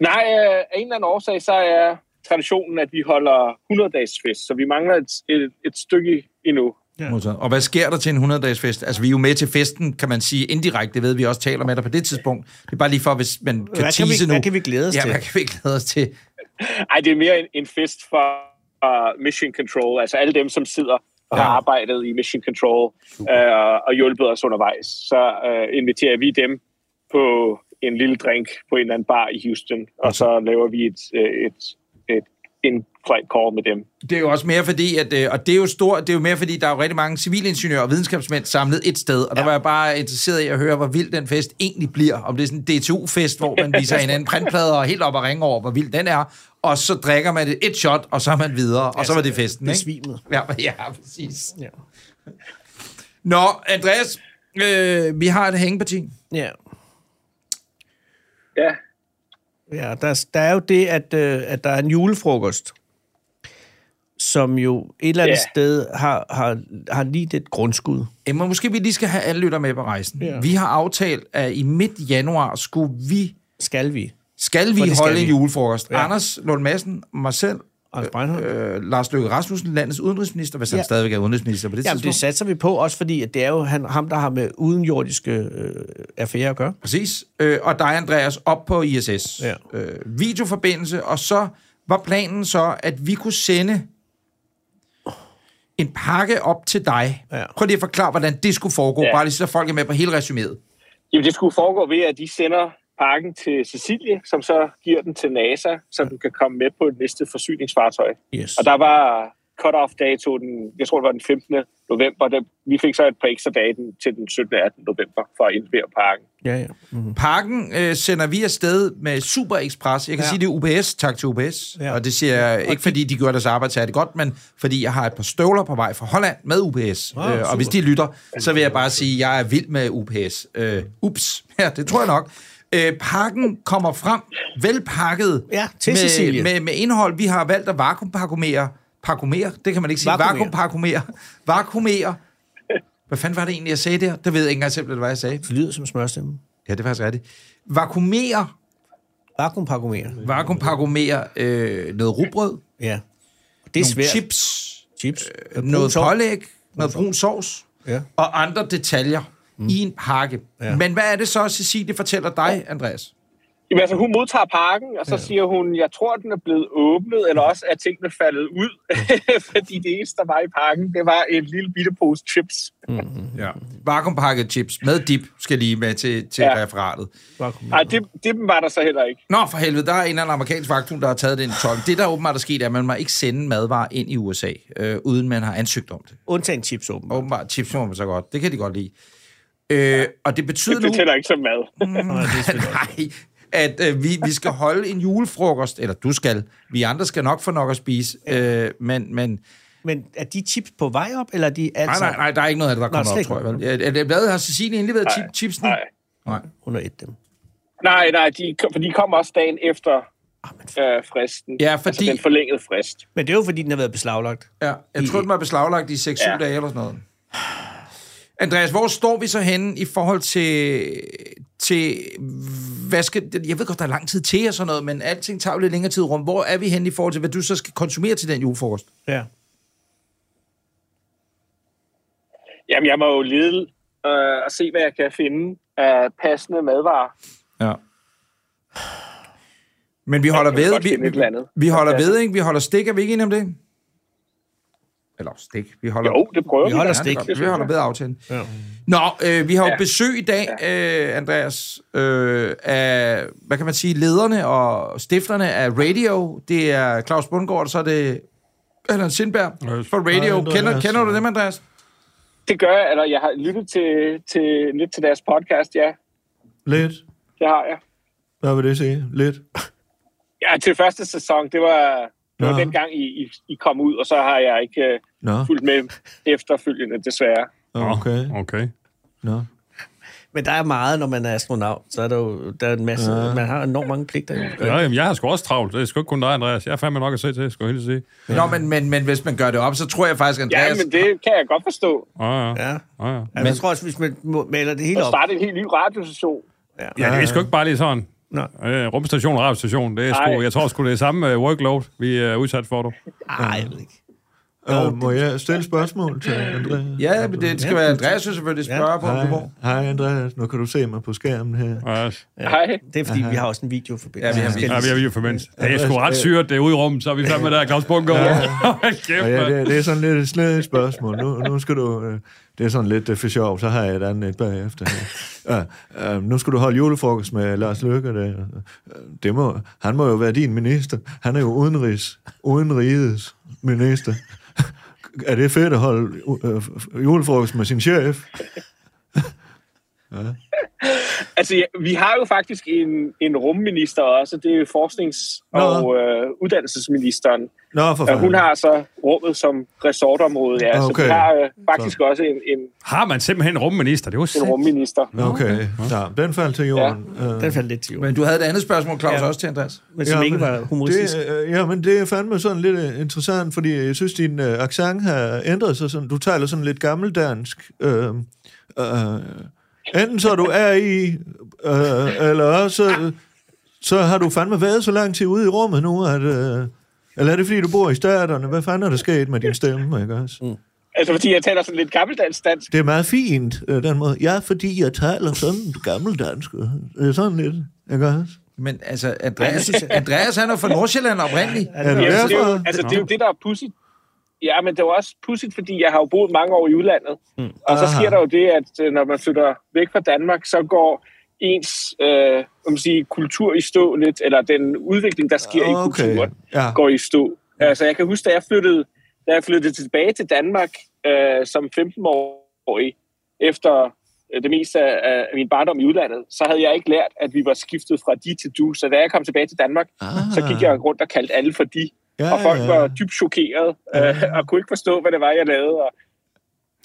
Nej, øh, af en eller anden årsag, så er traditionen, at vi holder 100-dages fest, så vi mangler et, et, et stykke endnu. Ja. Modtaget. Og hvad sker der til en 100-dages fest? Altså, vi er jo med til festen, kan man sige, indirekte. Det ved vi også taler med dig på det tidspunkt. Det er bare lige for, hvis man kan Hvad kan, tease vi, nu. hvad kan vi glæde os ja, til? hvad kan vi glæde os til? Ej, det er mere en, en fest for uh, Mission Control, altså alle dem, som sidder og Ja. har arbejdet i Mission Control øh, og- og hjulpet os undervejs. Så øh, inviterer vi dem på en lille drink på en eller anden bar i Houston, og så laver vi et, øh, et, et, en flight call med dem. Det er jo også mere fordi, at, øh, og det er jo stort, det er jo mere fordi, der er jo rigtig mange civilingeniører og videnskabsmænd samlet et sted, og der var jeg bare interesseret i at høre, hvor vild den fest egentlig bliver. Om det er sådan en DTU-fest, hvor man viser hinanden printplader og helt op og ringer over, hvor vild den er, og så drikker man det et shot, og så er man videre, Altså, og så var det festen, ikke? Besvimet. Ja, ja, præcis. Ja. Nå, Andreas, øh, vi har et hængeparti. Ja. Ja, Ja, der, er- der er jo det, at, øh, at der er en julefrokost, som jo et eller andet Ja. sted har, har, har lige det grundskud. Jamen, måske vi lige skal have alle lytter med på rejsen. Ja. Vi har aftalt, at i midt januar skulle vi Skal vi? Skal For vi det skal holde en vi. julefrost? Ja. Ja. Anders Lund Madsen, mig selv, Anders Breinholt? øh, Lars Løkke Rasmussen, landets udenrigsminister, hvis ja. han Ja. stadigvæk er udenrigsminister på det Jamen, det tidspunkt. satser vi på, også fordi at det er jo han, ham, der har med udenjordiske øh, affærer at gøre. Præcis. Øh, og dig, Andreas, op på ISS. Ja. Øh, videoforbindelse, og så var planen så, at vi kunne sende en pakke op til dig. Ja. Prøv lige at forklare, hvordan det skulle foregå, ja. Ja. bare lige så folk er med på hele resuméet. Jamen, det skulle foregå ved, at de sender pakken til Cecilie, som så giver den til NASA, så den kan komme med på et næste forsyningsfartøj. Yes. Og der var cut-off dato, den, jeg tror det var den 15. november. Den, vi fik så et par ekstra dage den, til den 17. og 18. november for at indlevere pakken. Ja, ja. Mm. Pakken øh, sender vi afsted med Super Express. Jeg kan ja. Ja. sige, det er UPS. Tak til UPS. Ja. Ja. Og det siger jeg ikke, fordi de gør deres arbejde særligt godt, men fordi jeg har et par støvler på vej fra Holland med UPS. Wow, øh, og hvis de lytter, så vil jeg bare sige, at jeg er vild med UPS. Øh, ups. Ja, det tror jeg nok. Øh, pakken kommer frem, velpakket Ja, til med, Cecilie. med, med indhold. Vi har valgt at vakuumpakumere. Pakumere? Det kan man ikke sige. Vakuumere. Vakuumpakumere. Vakuumere. Hvad fanden var det egentlig, jeg sagde der? Det ved jeg ikke engang selv, hvad jeg sagde. Det lyder som smørstemme. Ja, det er faktisk rigtigt. Vakuumere, Vakuumpakumere. vakuumpakumere øh, noget rugbrød, Ja. Det er nogle svært. chips, Chips. øh, noget Brun sovs. pålæg, noget brun sovs Ja. og andre detaljer mm. i en pakke. Ja. Men hvad er det så, Cecilie fortæller dig, Andreas? Jamen, altså, hun modtager pakken, og så ja. siger hun, jeg tror, den er blevet åbnet, eller også er tingene faldet ud, fordi det eneste, der var i pakken, det var en lille bitte pose chips. Ja. Vakuumpakket chips med dip skal lige med til, til ja. Ja. referatet. Vakuum. Nej, det, det var der så heller ikke. Nå, for helvede, der er en eller anden amerikansk vagthund, der har taget den tolk. Det, der åbenbart er sket, er, at man må ikke sende madvarer ind i USA, øh, uden man har ansøgt om det. Undtagen chips, åbenbart. Åbenbart, chips må man så godt. Det kan de godt lide. Øh, og det betyder Det nu... tæller ikke som mad. Nej, at øh, vi, vi skal holde en julefrokost, eller du skal, vi andre skal nok få nok at spise, øh, men, men Men er de chips på vej op, eller er de nej, altså nej, nej, der er ikke noget af det, der Nå, kommer op, slet tror jeg. Vel? Ja, det- Hvad har Cecilie egentlig været chip, chipsen? Nej. nej. under et dem? Nej, nej, de, for de kom også dagen efter øh, fristen. Ah, Ja, fordi- Altså den forlængede frist. Men det er jo, fordi den har været beslaglagt. Ja, jeg tror, den var beslaglagt i 6-7 ja. Ja. dage eller sådan noget. Andreas, hvor står vi så henne i forhold til... til hvad skal, jeg ved godt, der er lang tid til og sådan noget, men alting tager jo lidt længere tid rum. Hvor er vi henne i forhold til, hvad du så skal konsumere til den julefrokost? Ja. Jamen, jeg må jo lede øh, og se, hvad jeg kan finde af passende madvarer. Ja. Men vi holder Jeg kan ved. godt finde et eller Vi, andet. vi holder Ja. ved, ikke? Vi holder stik. Er vi ikke enige om det? Eller stik. Vi holder, Jo, det prøver Vi vi. holder da. stik. Ja, vi holder ved aftalen. Ja. Nå, øh, vi har jo ja. Ja. besøg i dag, øh, Andreas, øh, af, hvad kan man sige, lederne og stifterne af Radio. Det er Claus Bundgaard, og så er det Allan Sindberg Yes. fra Radio. Hej, kender, Andreas. kender du dem, Andreas? Det gør jeg, eller jeg har lyttet til, til, lidt til deres podcast, ja. Lidt. Det har jeg. Hvad vil det sige? Lidt. Ja, til første sæson, det var, det var Nå. dengang, I, I, I kom ud, og så har jeg ikke øh, Nå, fulgt med efterfølgende, desværre. okay. Okay. Nå. Men der er meget, når man er astronaut. Så er der jo der er en masse... Ja. Man har enormt mange pligter. jo. Ja, jamen, jeg har sgu også travlt. Det er sgu ikke kun dig, Andreas. Jeg er fandme nok at se til, skulle jeg hilse sige. Ja. Nå, men, men, men hvis man gør det op, så tror jeg faktisk, Ja, Andreas... men det kan jeg godt forstå. Ja, ja. Ja. Ja, ja. Men Altså, jeg tror også, hvis man må- maler det hele At op... starte en helt ny radiostation. ja det er sgu ikke bare lige sådan. Nå. Øh, rumstation og radiostation, det er sgu, Nej. jeg tror sgu, det er samme øh, workload, vi er udsat for, du. Ej, jeg ved ikke. Øh, må jeg stille spørgsmål til Andreas? Ja, men det, det skal være Andreas, jo selvfølgelig spørger på, om du Hej, må. hej Andreas, nu kan du se mig på skærmen her. Ja, Ja. Hej. Det er, fordi vi har også en video for Ja, vi har video. ja vi er lige formens. Det er sgu ret øh, syret, det er ude i rummet, så er vi fandme der, Claus Bunker. Hold kæft, Og ja, mand. det, det er sådan lidt et snedigt spørgsmål. Nu, nu skal du... øh, Det er sådan lidt øh, for sjov, så har jeg et andet bagefter. Ja, øh, nu skal du holde julefrokost med Lars Løkke. Det, øh, det må, han må jo være din minister. Han er jo udenrigs, udenrigets minister. Er det fedt at holde øh, julefrokost med sin chef? Altså, ja, vi har jo faktisk en, en rumminister også, det er forsknings- og øh, uddannelsesministeren. Nå, for Og fanden. hun har så rummet som resortområde, ja. Okay. Så Ah, Okay. vi har øh, faktisk så. også en, en, Har man simpelthen en rumminister? Det er jo en sindssygt. rumminister. Okay, ja, den faldt til jorden. Øh, Ja. Den faldt lidt til jorden. Men du havde et andet spørgsmål, Claus, Ja. også til Andreas. Men som ikke var humoristisk. Det, øh, ja, men det er fandme sådan lidt øh, interessant, fordi jeg synes, din øh, accent har ændret sig. Sådan, du taler sådan lidt gammeldansk. Øh, øh, enten så er du er i, øh, eller også så har du fandme været så lang tid ude i rummet nu, at... Øh, eller er det, fordi du bor i staterne? Hvad fanden er der sket med din stemme, ikke også? Altså, fordi jeg taler sådan lidt gammeldansk dansk. Det er meget fint, øh, den måde. Ja, fordi jeg taler sådan gammeldansk. øh, Det er sådan lidt, ikke også? Men altså, Andreas, Andreas han er fra Nordsjælland oprindeligt. Er det Ja, altså, det, er jo, derfor? altså, det er jo det, der er pudsigt. Ja, men det er jo også pudsigt, fordi jeg har jo boet mange år i udlandet. Mm. Og så Aha. sker der jo det, at øh, når man flytter væk fra Danmark, så går ens øh, hvad man siger, kultur i stå lidt, eller den udvikling, der sker okay. i kulturen, Ah, Ja. går i stå. Altså, jeg kan huske, da jeg flyttede, da jeg flyttede tilbage til Danmark øh, som 15-årig, efter øh, det meste af, af min barndom i udlandet, så havde jeg ikke lært, at vi var skiftet fra de til du. Så da jeg kom tilbage til Danmark, Ah. så gik jeg rundt og kaldte alle for de. Ja, Og folk ja. var dybt chokeret, øh, og kunne ikke forstå, hvad det var, jeg lavede. Og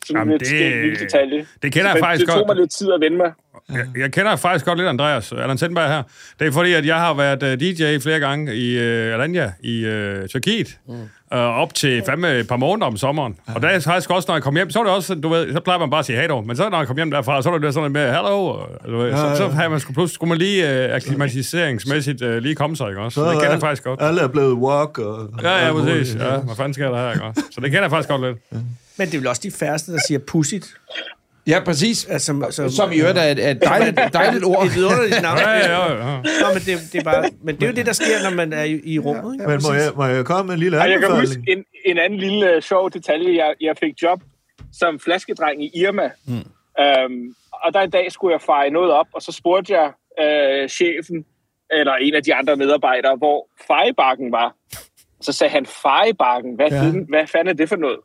sådan Jamen, Jamen, lidt det- det... skægt lille detalje. Det kender jeg Men faktisk det tog godt. mig lidt tid at vende mig. Jeg, jeg kender faktisk godt lidt Andreas, Allan Sendberg her. Det er fordi, at jeg har været øh, DJ flere gange i øh, Alanya, i øh, Tyrkiet, mm. øh, op til fandme et par måneder om sommeren. Og der er faktisk også, når jeg kom hjem, så var det også, du ved, så plejer man bare at sige hej dog. Men så når jeg kom hjem derfra, så var det sådan lidt mere, hello, og, du ved, ja, så, så havde man skulle, pludselig skulle man lige øh, akklimatiseringsmæssigt øh, lige komme sig, ikke også? Så det kender jeg faktisk godt. Alle er blevet walk og... Ja, ja, og- præcis. Ja, hvad fanden sker der her, ikke også? Så det kender jeg faktisk godt lidt. Men det er vel også de færreste, der siger pussigt. Ja, præcis. Altså, som, Som i øvrigt er et, er et dejligt, dejligt ord. Et vidunderligt navn. Ja, ja, ja. ja. Nå, men, det, det er bare, men det er jo det, der sker, når man er i, i rummet. Ikke? Men må jeg, må jeg komme med en lille Og jeg kan huske anbefaling? en, en anden lille øh, sjov detalje. Jeg, jeg fik job som flaskedreng i Irma. Mm. Øhm, og der en dag skulle jeg feje noget op, og så spurgte jeg øh, chefen, eller en af de andre medarbejdere, hvor fejebakken var. Så sagde han, fejebakken? Hvad, Ja. ja. hvad fanden er det for noget?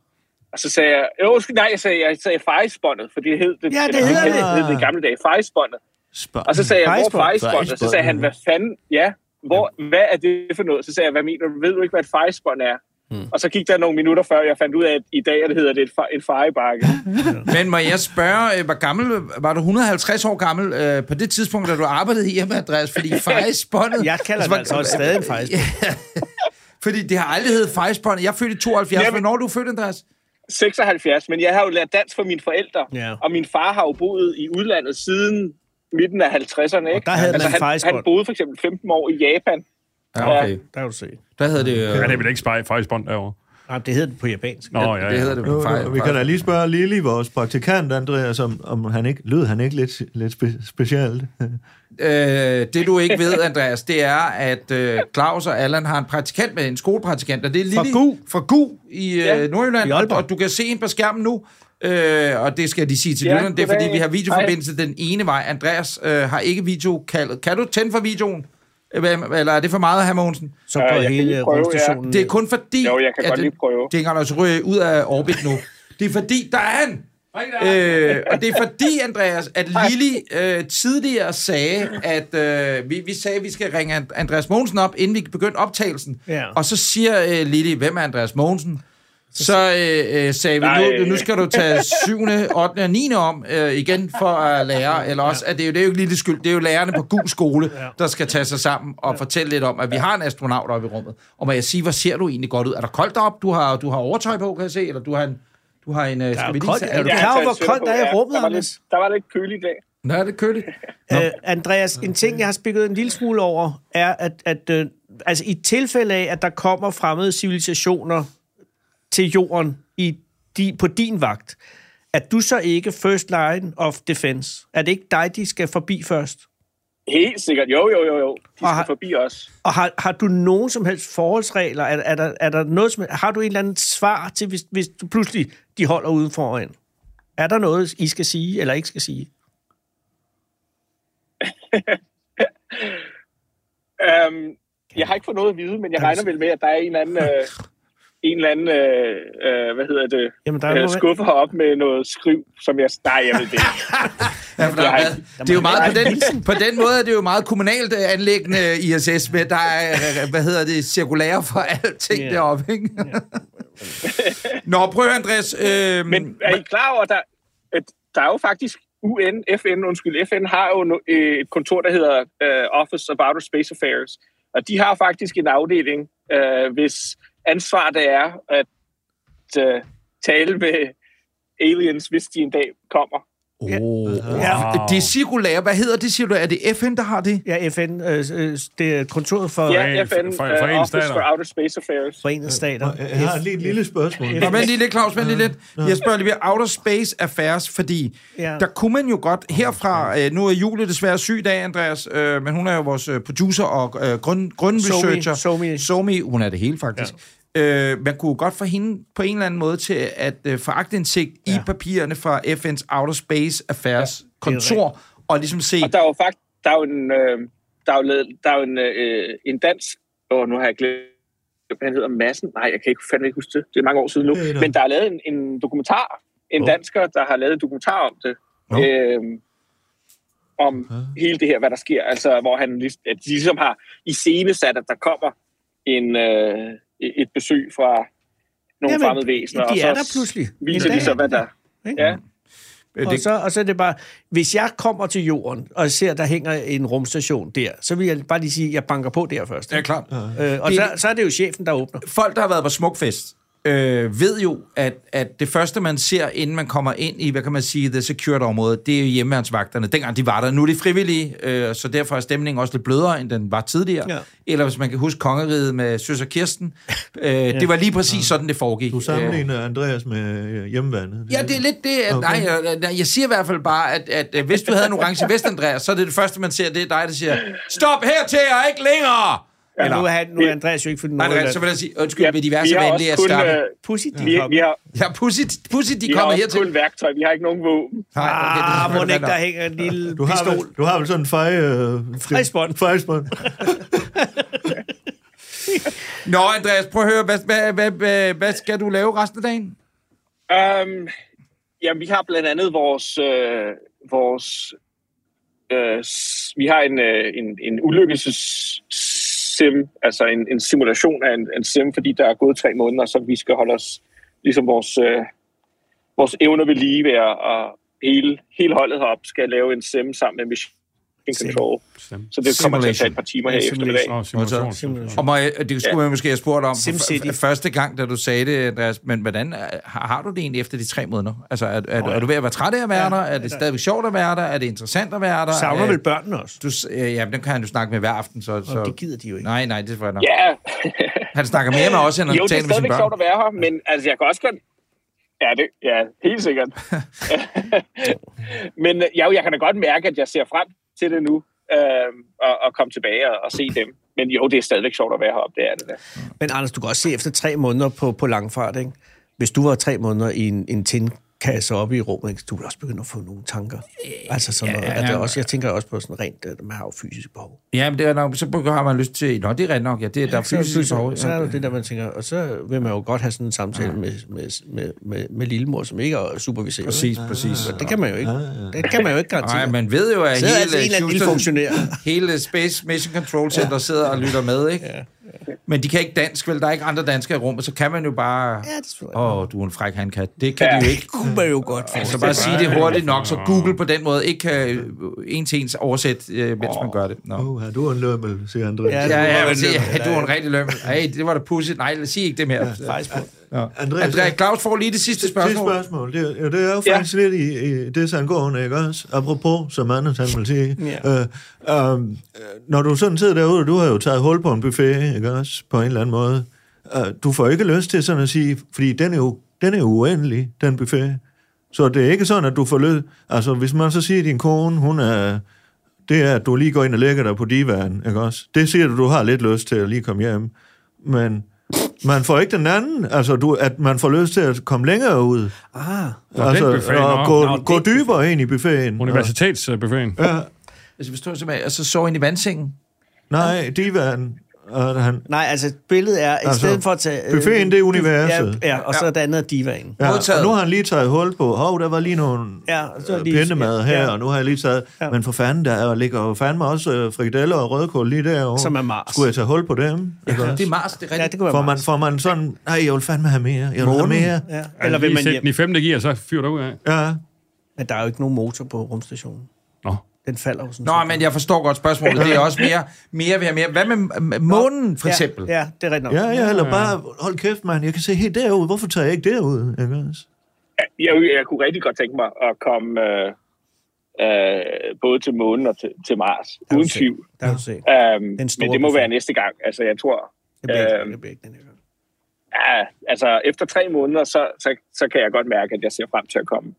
Og så sagde jeg, øh, undskyld, nej, jeg sagde, jeg sagde fejespåndet, for det hed det, Ja, det eller hedder hed det. hed det i gamle dage, fejespåndet. Spa- Og så sagde jeg, hvor Fejsbånd? er fejsbånd? Og så sagde han, hvad fanden, ja, hvor, hvad er det for noget? Så sagde jeg, hvad mener du, ved du ikke, hvad et fejsbånd er? Mm. Og så gik der nogle minutter før, jeg fandt ud af, at i dag det hedder det et, fa- en fejebakke. Men må jeg spørge, øh, hvor gammel, var du 150 år gammel øh, på det tidspunkt, da du arbejdede i Irma, Andreas? Fordi fejespåndet... Jeg kalder det altså også stadig en faktisk. Fordi det har aldrig heddet fejespåndet. Jeg er født i 72. Jamen- Hvornår er du født, Andreas? 76, men jeg har jo lært dansk fra mine forældre. Ja. Og min far har jo boet i udlandet siden midten af 50'erne. der Ikke? Altså, havde man han, faktisk han godt- boede for eksempel 15 år i Japan. Ja, okay. Der kan du se. Der hedder det... Øh, Ja, det er vel ikke spej, fejlspånd derovre. Nej, det hedder det på japansk. Nå, ja, det hedder ja. det. Nu, Fej, nu, vi kan da lige spørge Lili, vores praktikant, Andreas, om, om han ikke, lød han ikke lidt, lidt spe, specielt? Øh, det du ikke ved, Andreas, det er, at øh, Claus og Allan har en praktikant med, en skolepraktikant, og det er Lili Fra Gu. fra Gu i øh, Ja. Nordjylland, I Aalborg. og du kan se hende på skærmen nu, øh, og det skal de sige til Ja, ja, lytterne, det er fordi, goddag. vi har videoforbindelse den ene vej. Andreas øh, har ikke videokaldet. Kan du tænde for videoen? Øh, Hvem- Eller er det for meget, herr Mogensen? Så Ja, på jeg kan hele lige prøve, ja. rumstationen. Det er kun fordi... Jo, jeg kan at godt den- lige prøve. Det er altså ryge ud af orbit nu. Det er fordi, der er han! Øh, og det er fordi, Andreas, at Lili øh, tidligere sagde, at øh, vi, vi sagde, at vi skal ringe And- Andreas Mogensen op, inden vi begyndte optagelsen. Ja. Og så siger øh, Lili, hvem er Andreas Mogensen? Så øh, øh, sagde vi, nu, Nej. nu skal du tage 7., 8. og 9. om øh, igen for at lære, eller også, at det er jo, det er jo ikke Lilles skyld, det er jo lærerne på GU skole, der skal tage sig sammen og fortælle lidt om, at vi har en astronaut oppe i rummet. Og må jeg sige, hvor ser du egentlig godt ud? Er der koldt op? Du har, du har overtøj på, kan jeg se, eller du har en... Du har en, øh, der er jo koldt. Er du klar Jeg har over, taget hvor koldt sweater der er i på, ja. rummet, der var, Anders? lidt, der var lidt kølig i dag. Nå, er det køligt. Øh, Andreas, en ting, jeg har spillet en lille smule over, er, at, at øh, altså, i tilfælde af, at der kommer fremmede civilisationer til jorden i, di, på din vagt, er du så ikke first line of defense? Er det ikke dig, de skal forbi først? Helt sikkert. Jo, jo, jo, jo. De Og skal har- forbi os. Og har, har du nogen som helst forholdsregler? Er, er, der, er der noget som, har du en eller anden svar til, hvis, hvis du pludselig de holder uden foran? Er der noget, I skal sige eller ikke skal sige? Øhm, jeg har ikke fået noget at vide, men jeg regner vel med, at der er en eller anden, øh, en eller anden øh, øh, hvad hedder det, Jamen, der er øh, noget- skuffe heroppe med noget skriv, som jeg... Nej, jeg ved det ikke. Ja, for der er, Nej. meget- det er jo meget, på den, på den måde er det jo meget kommunalt øh, anlæggende ISS, med der er, øh, hvad hedder det, cirkulære for alting Ja. yeah. deroppe, ikke? Nå, prøv at høre, Andreas. Øh, Men er I klar over, at der, at der er jo faktisk UN, FN, undskyld, FN har jo no- øh, et kontor, der hedder øh, Office of Outer Space Affairs, og de har faktisk en afdeling, øh, hvis ansvar det er at øh, tale med aliens, hvis de en dag kommer. oh, Ja. Det er cirkulære. Hvad hedder det, siger du? Er det FN, der har det? Ja, FN, øh, øh, det er kontoret for ja. Ja, Forenede- FN, For- øh, Forenede Office Stater. for Outer Space Affairs. Forenede Stater. Jeg har lige et lille spørgsmål. Nå, vent lige lidt, Claus, vent lige lidt. Jeg spørger lige ved Outer Space Affairs, fordi Ja. der kunne man jo godt herfra... Øh, nu er Julie desværre syg i dag, Andreas, øh, men hun er jo vores øh, producer og øh, grund, grundresearcher. Somi. Somi, hun er det hele faktisk. Ja. Øh, man kunne godt få hende på en eller anden måde til at øh, få agtindsigt ja. i papirerne fra FN's Outer Space Affairs ja, kontor, og ligesom se... Og der er jo faktisk, der er jo en, øh, der er jo, lavet- der er jo en, øh, en dansk, og nu har jeg glemt, hvad han hedder, Massen. Nej, jeg kan ikke fandme ikke huske det. Det er mange år siden nu. Det er der. Men der er lavet en, en dokumentar, en dansker, der har lavet en dokumentar om det. Øh, om hele det her, hvad der sker. Altså, hvor han lig- at de ligesom har i sat, at der kommer en, øh, et besøg fra nogle Jamen, fremmede væsener. de og så er der pludselig. Viser I dag de så, er de hvad der... Ikke? Ja, Øh, Og, så, og så er det bare, hvis jeg kommer til jorden, og ser, der hænger en rumstation der, så vil jeg bare lige sige, at jeg banker på der først. ja, klart. Øh, og Det- så, så er det jo chefen, der åbner. folk, der har været på Smukfest, øh, ved jo, at, at det første, man ser, inden man kommer ind i, hvad kan man sige, det secured område, det er jo hjemmeværnsvagterne. Dengang de var der, nu er de frivillige, øh, så derfor er stemningen også lidt blødere, end den var tidligere. Ja. Ja. Eller hvis man kan huske kongeriget med Søs og Kirsten, øh, det var lige præcis sådan, det foregik. Du Øh, sammenligner Andreas med øh, hjemmevandet. Ja, det er lidt det. At, okay. Okay. Nej, jeg, jeg- jeg siger i hvert fald bare, at, at øh, hvis du havde en orange vest, Andreas, så er det det første, man ser, det er dig, der siger, stop hertil og ikke længere! Ja, Eller, nu, er Eller, han, nu er Andreas jo ikke fyldt nej, Andreas, så noget. vil jeg sige, undskyld, ja, ved vi diverse har vanlige også at kun, stappe. øh, Pussy, de vi, vi, har, Ja, pudsigt, pudsigt de vi har kommer også hertil. kun værktøj. Vi har ikke nogen våben. Nej, okay, det er Ah, må selvfølgelig ikke, der rigtigt. hænger en lille Du har, pistol. vel, du har vel sådan en fej... Øh, Fejspånd. Fejspånd. Nå, Andreas, prøv at høre, hvad, hvad, hvad, hvad, hvad skal du lave resten af dagen? Um, jamen, vi har blandt andet vores... Øh, vores øh, s- vi har en, øh, en, en ulykkelses sim, altså en, en simulation af en, en sim, fordi der er gået tre måneder, så vi skal holde os, ligesom vores, øh, vores evner ved lige ved at, og hele, hele holdet heroppe skal lave en sim sammen med Mission Control. Stem. Så det kommer til at tage Simulation. et par timer Ja, her i simulation. eftermiddag. Nå, simulation. Simulation. Og må jeg, det skulle ja. man måske have spurgt om for, SimCity. for, første gang, da du sagde det, Andreas, men hvordan er- har, har du det egentlig efter de tre måneder? Altså, er, er, er du ved at være træt af at være Ja. der? Er det stadigvæk sjovt at være der? Er det interessant at være der? Savner Øh, vel børnene også? Du, s- øh, ja, men dem kan han jo snakke med hver aften, så... så Og det gider de jo ikke. nej, nej, det tror jeg nok. Ja, Han snakker mere med os, end han jo, det er taler med sine stadigvæk sjovt børn. at være her, men altså, jeg kan også godt... Ja, det, ja helt sikkert. men ja, jeg kan da godt mærke, at jeg ser frem til det nu, øh, og, og komme tilbage og, og se dem. Men jo, det er stadigvæk sjovt at være heroppe, det er det da. Men Anders, du kan også se efter tre måneder på, på langfart, ikke? Hvis du var tre måneder i en, en tinkasse oppe i rummet, ikke? du ville også begynde at få nogle tanker. Altså sådan noget. ja, At det ja. også, jeg tænker også på sådan rent, at man har jo fysisk behov. Ja, men det er nok, så begynder- har man lyst til... Nå, det er rigtigt nok, ja, det, er- der er Så, fysisk behov. så er det jo det der, man tænker, og så vil man jo godt have sådan en samtale med, med, med, med, med lillemor, som ikke er superviseret. Præcis, præcis. Det kan man jo ikke. Det kan man jo ikke garantere. Nej, man ved jo, at Så er hele, altså en eller anden lille Houston- funktionær. hele Space Mission Control Center ja. sidder og lytter med, ikke? Ja. Ja. Men de kan ikke dansk, vel? Der er ikke andre danskere i rummet, så kan man jo bare... Ja, det er selvfølgelig. Åh, oh, du er en fræk handkat. Det kan ja. de jo ikke. Det kunne man jo godt Så forestille bare sige det hurtigt nok, så Google på den måde ikke kan øh, en til ens oversætte, øh, mens man gør det. Nå. Uh, du er en lømmel, siger Andreas. Ja, Ja, det- ja. Ja, ja, var men en se, lømmel. ja, du er en rigtig lømmel. Hey, det var da pudsigt. Nej, lad os sige ikke det mere. mig. Faktisk på. Ja. Andreas- Andreas, Claus får lige det sidste Det spørgsmål. spørgsmål, det, er- ja, det er jo Ja. faktisk lidt i, i det angående, ikke også? Apropos, som Anders han vil sige. Ja. Øh, øh, når du sådan sidder derude, du har jo taget hul på en buffet, ikke også? På en eller anden måde. Øh, du får ikke lyst til sådan at sige, fordi den er jo, den er jo uendelig, den buffet. Så det er ikke sådan, at du får lyst... Altså, hvis man så siger, at din kone, hun er... Det er, at du lige går ind og lægger dig på divan, ikke også? Det siger du, du har lidt lyst til at lige komme hjem. Men man får ikke den anden, altså du, at man får lyst til at komme længere ud. Ah, Nå, den buffet, nå. og gå, Nå, gå den dybere ind i buffeten. Universitetsbuffeten. Ja, Altså, forstår du simpelthen, og så sov ind i vandsengen. nej, divan. Og han, nej, altså billedet er, i Altså, stedet for at tage... øh, buffeten, det er universet. Ja, ja og så er det andet er divaen. ja, Modtaget. og nu har han lige taget hul på, hov, der var lige nogle Ja, og så så er lige- Øh, pindemad her, ja. og nu har jeg lige taget, Ja. men for fanden, der ligger jo fandme også øh, frikadeller og rødkål lige derovre. Som er Mars. Skulle jeg tage hul på dem? Ja, Det er Mars, det er Ja, rigtigt. det kunne være får, man, Mars. får man sådan, nej, jeg vil fandme have mere, jeg vil have mere. Ja. Eller Eller vil man sætte hjem? den i femte gear, så fyrer du ud af. Ja. Men der er jo ikke nogen motor på rumstationen. Nå. Den falder jo sådan Nå, set. men jeg forstår godt spørgsmålet. Det er også mere, mere ved mere. Hvad med m- månen, for Ja, eksempel? Ja, Ja, det er rigtigt nok. Ja, ja, eller bare, hold kæft, mand, jeg kan se helt derud. Hvorfor tager jeg ikke derud? Ikke også? jeg, jeg kunne rigtig godt tænke mig at komme øh, øh, både til månen og til, til Mars, Der er uden jo se- tvivl. Der er jo se. Øhm, Den store men det må buffet. være næste gang. Altså, jeg tror, Det bliver, ikke, Øhm. det bliver ikke den her gang. ja, altså, efter tre måneder, så, så, så kan jeg godt mærke, at jeg ser frem til at komme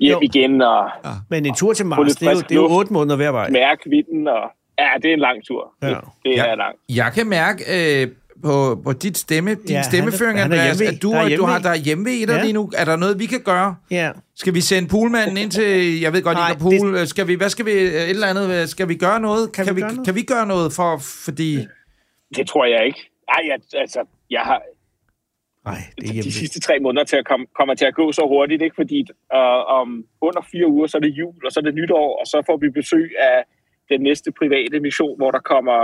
hjem Jo. igen og Men en tur til Få Mars, lidt det er jo, frisk det er jo luft. otte måneder hver vej. mærke vinden. Og, ja, det er en lang tur. Ja. Det, det er Ja. langt. Jeg kan mærke øh, på, på dit stemme, din Ja, ja, han er- stemmeføring, han er Andreas, hjemme i- at du, der er du har hjemme i. der er hjemme i dig Ja. ja. lige nu. Er der noget, vi kan gøre? Ja. Skal vi sende poolmanden ind til... Jeg ved godt, Nej, Nej, ikke pool. Det... Skal vi, hvad skal vi... øh, Et eller andet... Skal vi gøre noget? Kan, vi gøre noget? Kan vi gøre noget for... Fordi... Det tror jeg ikke. Ej, jeg, altså, jeg har Nej, det er de hjemme. sidste tre måneder til at komme, kommer til at gå så hurtigt, ikke? fordi øh, om under fire uger, så er det jul, og så er det nytår, og så får vi besøg af den næste private mission, hvor der kommer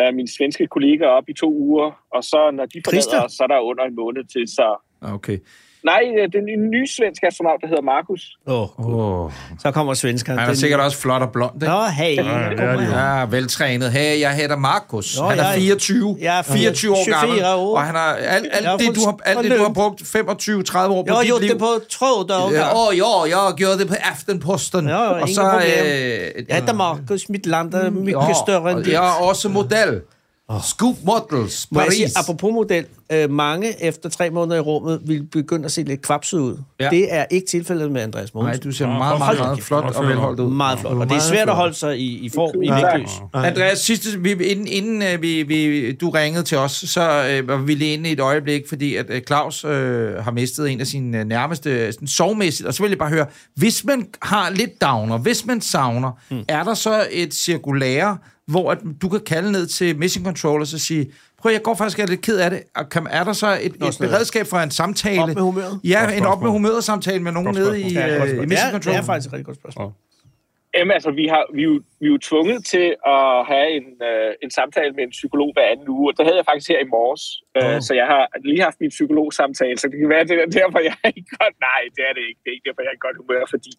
øh, mine svenske kollegaer op i to uger, og så når de Christer? forlader os, så er der under en måned til, så... Okay. Nej, øh, den nye- nye svenske astronaut, der hedder Markus. Åh, Oh. så kommer svenskerne. Han er Den- sikkert også flot og blond, ikke? Nå, hey. det er de jo. Ja, veltrænet. Hey, jeg hedder Markus. Nå, han er jeg- 24. jeg er 24 år 24 gammel. år. Og han har alt, alt, Jeg har det, fået du har, alt det, du har brugt 25-30 år på Jeg har dit gjort liv. det på tråd dager. Ja, åh, ja, jeg gjorde det på Aftenposten. Ja, ja, og ingen så... problem. Øh, Jeg hedder Markus, mit land er mycket større end og dit. Jeg er også model. Scoop Models, Må jeg sige, Paris. apropos model, øh, mange efter tre måneder i rummet vil begynde at se lidt kvapset ud. Ja. Ja. Det er ikke tilfældet med Andreas Nej, Mogensen. du ser meget, meget, hold meget kæft, flot hvor og flot. velholdt ud. Meget flot. Og det er svært at holde sig i, i form i Ja. midtlys. Nej. Andreas, sidste, vi, inden, inden øh, vi, vi, du ringede til os, så øh, var vi lige inde i et øjeblik, fordi at øh, Claus øh, har mistet en af sine øh, nærmeste øh, sådan, sovmæssigt, og så vil jeg bare høre, hvis man har lidt downer, hvis man savner, Hmm. mm. er der så et cirkulære, hvor at du kan kalde ned til Mission Control og så sige, prøv jeg går faktisk jeg er lidt ked af det, og kan, er der så et, et sådan noget. beredskab for en samtale? Op med humøret. Ja, en spørgsmål. op med humøret samtale med nogen Godt nede spørgsmål. i, Ja, øh, i det, Mission er, Control. det er faktisk et rigtig godt spørgsmål. Jamen, altså, vi, har, vi, er jo- vi er jo tvunget til at have en, øh, en samtale med en psykolog hver anden uge, og det havde jeg faktisk her i morges. Øh, så jeg har lige haft min psykologsamtale, så det kan være, at det er derfor, jeg er ikke godt... Nej, det er det ikke. Det er ikke derfor, jeg er i godt humør, fordi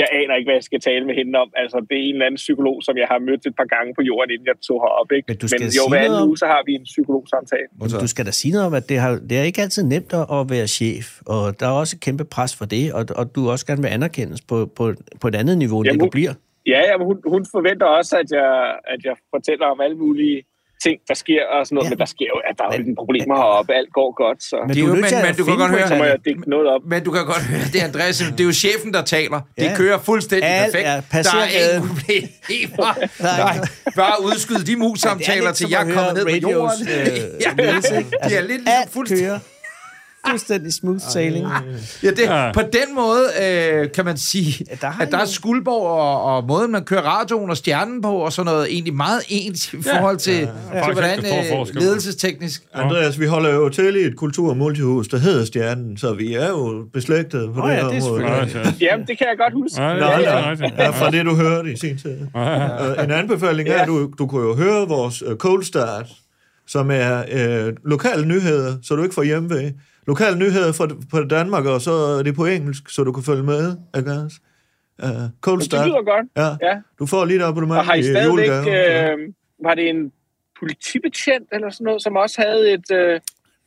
jeg aner ikke, hvad jeg skal tale med hende om. Altså, det er en eller anden psykolog, som jeg har mødt et par gange på jorden, inden jeg tog herop. Ikke? Men du skal Men jo, sige hver noget anden om- uge, så har vi en psykologsamtale. Jamen, du skal da sige noget om, at det, har, det er ikke altid nemt at, at være chef, og der er også et kæmpe pres for det, og, og du også gerne vil anerkendes på, på, på et andet niveau, end Jamen, det du hun- bliver. Ja, ja men hun, hun forventer også, at jeg, at jeg fortæller om alle mulige ting, der sker og sådan noget, Ja. ja. men der sker jo, at der er jo Men- ikke problemer heroppe, alt går godt, så... Men Det er du er jo- nødt men- til at men du kan finde godt på et høre, Så må Ja. jeg dække noget op. Men du kan godt høre, det er Andreas, det er jo chefen, der taler. Det Ja. kører fuldstændig Alt perfekt. er der er passergaden. ingen problemer. Nej. Nej, bare udskyde de Men det mus-samtaler, er lidt til som jeg at er kommet ned høre på jorden. radios, øh, ledelse, ikke? de er lidt ligesom alt fuldstændig... kører. Fuldstændig smooth sailing. Ja, det, ja. Ja. På den måde øh, kan man sige, Ja, ja, der der har at der I- er Skuldborg og, og måden, man kører radioen og stjernen på og sådan noget, egentlig meget ens i forhold til, ja, ja, ja. til Faktisk hvordan ikke den store øh, forskel. ledelsesteknisk... Andreas, vi holder jo til i et kultur- og multihus, der hedder Stjernen, så vi er jo beslægtet på Åh det ja, her det er område. Nej, selvfølgelig- altså. Jamen, det kan jeg godt huske. Nej, Nå, det er ja. rigtigt. Ja, fra det, du hørte i sin tid. Øh, En anbefaling er, at du, du kunne jo høre vores øh, Cold Start, som er øh, lokale nyheder, så du ikke får hjemvej. Lokale nyheder fra, fra Danmark, og så er det på engelsk, så du kan følge med. Ikke? også? Øh, cold Det Start. lyder godt. Ja, Ja. du får lige et abonnement Og har I i stadigvæk... julegave. Øh, var det en politibetjent eller sådan noget, som også havde et, øh,